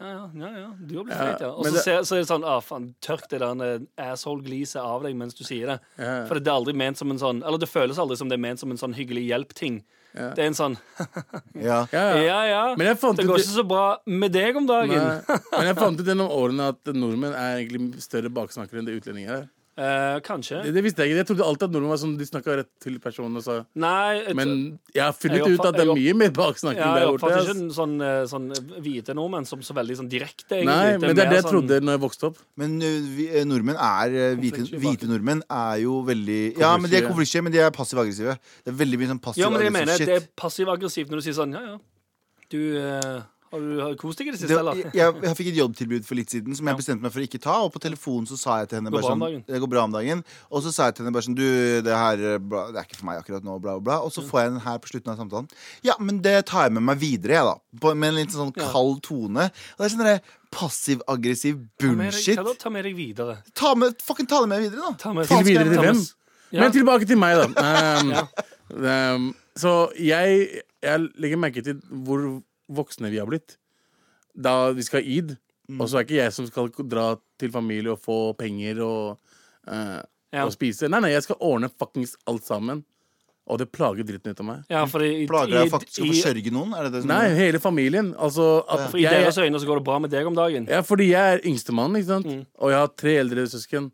[SPEAKER 5] ja, ja, ja, ja, du har blitt feit, ja. Og
[SPEAKER 3] men
[SPEAKER 5] så,
[SPEAKER 3] det-
[SPEAKER 5] ser- så er det sånn ah, faen, Tørk det der eh, asshole-gliset av deg mens du sier det.
[SPEAKER 3] Ja.
[SPEAKER 5] For det er aldri ment som en sånn Eller det føles aldri som det er ment som en sånn hyggelig hjelp-ting. Det er en sånn
[SPEAKER 2] Ja.
[SPEAKER 3] Mm. ja, ja.
[SPEAKER 5] Ja, ja.
[SPEAKER 3] Men jeg fant
[SPEAKER 5] det
[SPEAKER 3] ut
[SPEAKER 5] går
[SPEAKER 3] det-
[SPEAKER 5] ikke så bra med deg om dagen.
[SPEAKER 3] Nei. Men jeg fant ut gjennom årene at nordmenn er egentlig større baksnakkere enn det utlendinger er.
[SPEAKER 5] Eh, kanskje.
[SPEAKER 3] Det, det visste jeg ikke. Jeg trodde alltid at nordmenn var sånn, de snakka rett til personen. og sa
[SPEAKER 5] Nei, et,
[SPEAKER 3] Men jeg har funnet
[SPEAKER 5] Jeg
[SPEAKER 3] ut at det er
[SPEAKER 5] oppfatter-
[SPEAKER 3] mye mer baksnakking
[SPEAKER 5] ja, jeg
[SPEAKER 3] der borte.
[SPEAKER 5] oppfatter
[SPEAKER 3] ass.
[SPEAKER 5] ikke sånn, eh, sånn hvite nordmenn som så veldig sånn direkte. egentlig.
[SPEAKER 3] Nei, men det
[SPEAKER 5] mer
[SPEAKER 3] er det jeg
[SPEAKER 5] sånn-
[SPEAKER 3] trodde når jeg vokste opp.
[SPEAKER 2] Men ø, vi, ø, nordmenn er ø, hvite,
[SPEAKER 5] Konfliktsky
[SPEAKER 2] hvite nordmenn er jo veldig Ja, men de er
[SPEAKER 3] Konfliktsky.
[SPEAKER 2] konfliktsky, men de er passiv-aggressive. Det er veldig mye sånn
[SPEAKER 5] Ja, men jeg mener
[SPEAKER 2] passiv-aggressiv
[SPEAKER 5] det er
[SPEAKER 2] shit.
[SPEAKER 5] passiv-aggressivt når du sier sånn Ja, ja, du eh, har du har du kost deg i det siste,
[SPEAKER 2] Det,
[SPEAKER 5] eller?
[SPEAKER 2] jeg, jeg fikk et jobbtilbud for litt siden som jeg bestemte meg for å ikke ta. Og på telefonen så sa jeg til henne
[SPEAKER 5] Går
[SPEAKER 2] bare
[SPEAKER 5] bra om
[SPEAKER 2] sånn
[SPEAKER 5] dagen.
[SPEAKER 2] Det går bra om dagen. Og så sa jeg til henne bare sånn Du, det her ø, bla, Det er ikke for meg akkurat nå, bla, bla, bla.
[SPEAKER 5] Mm.
[SPEAKER 2] Og så får jeg den her på slutten av samtalen. Ja, men det tar jeg med meg videre, jeg, da. På, med en litt sånn kald tone. Og det er sånn derre passiv-aggressiv
[SPEAKER 5] Ta med deg-
[SPEAKER 2] bullshit.
[SPEAKER 5] ta da- Ta med deg videre.
[SPEAKER 2] Ta med, fucking ta det med videre, da.
[SPEAKER 5] Ta med
[SPEAKER 3] Til videre til hvem?
[SPEAKER 5] Thomas. Ja.
[SPEAKER 3] Men tilbake til meg, da. Um, um, så jeg, jeg legger merke til hvor voksne vi har blitt. Da vi skal ha id,
[SPEAKER 5] Mm.
[SPEAKER 3] og så er ikke jeg som skal dra til familie og få penger og, uh,
[SPEAKER 5] Ja.
[SPEAKER 3] og spise. Nei, nei, jeg skal ordne fuckings alt sammen. Og det plager dritten ut av meg.
[SPEAKER 5] Ja, for i, i,
[SPEAKER 2] Plager deg faktisk å
[SPEAKER 5] i,
[SPEAKER 2] forsørge noen? Er det det som
[SPEAKER 3] Nei, hele familien. Altså at
[SPEAKER 5] Mm. for i deres øyne så går det bra med deg om dagen.
[SPEAKER 3] Ja, fordi jeg er yngstemann, ikke sant? Og jeg har tre eldre søsken.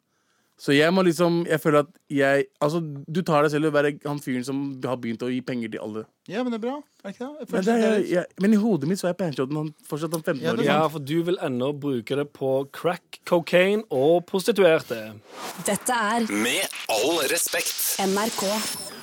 [SPEAKER 3] Så jeg må liksom Jeg føler at jeg Altså, du tar deg selv i å være han fyren som har begynt å gi penger til alle.
[SPEAKER 2] Ja, men det er bra. Er det ikke det? Jeg
[SPEAKER 3] Men,
[SPEAKER 2] føler
[SPEAKER 3] det er, jeg,
[SPEAKER 2] det er-
[SPEAKER 3] jeg, men i hodet mitt så er Panchoden han, fortsatt han 15-åringen.
[SPEAKER 5] Ja, for du vil ennå bruke det på crack, cocaine og prostituerte.
[SPEAKER 7] Dette er
[SPEAKER 1] Med all respekt.
[SPEAKER 7] NRK.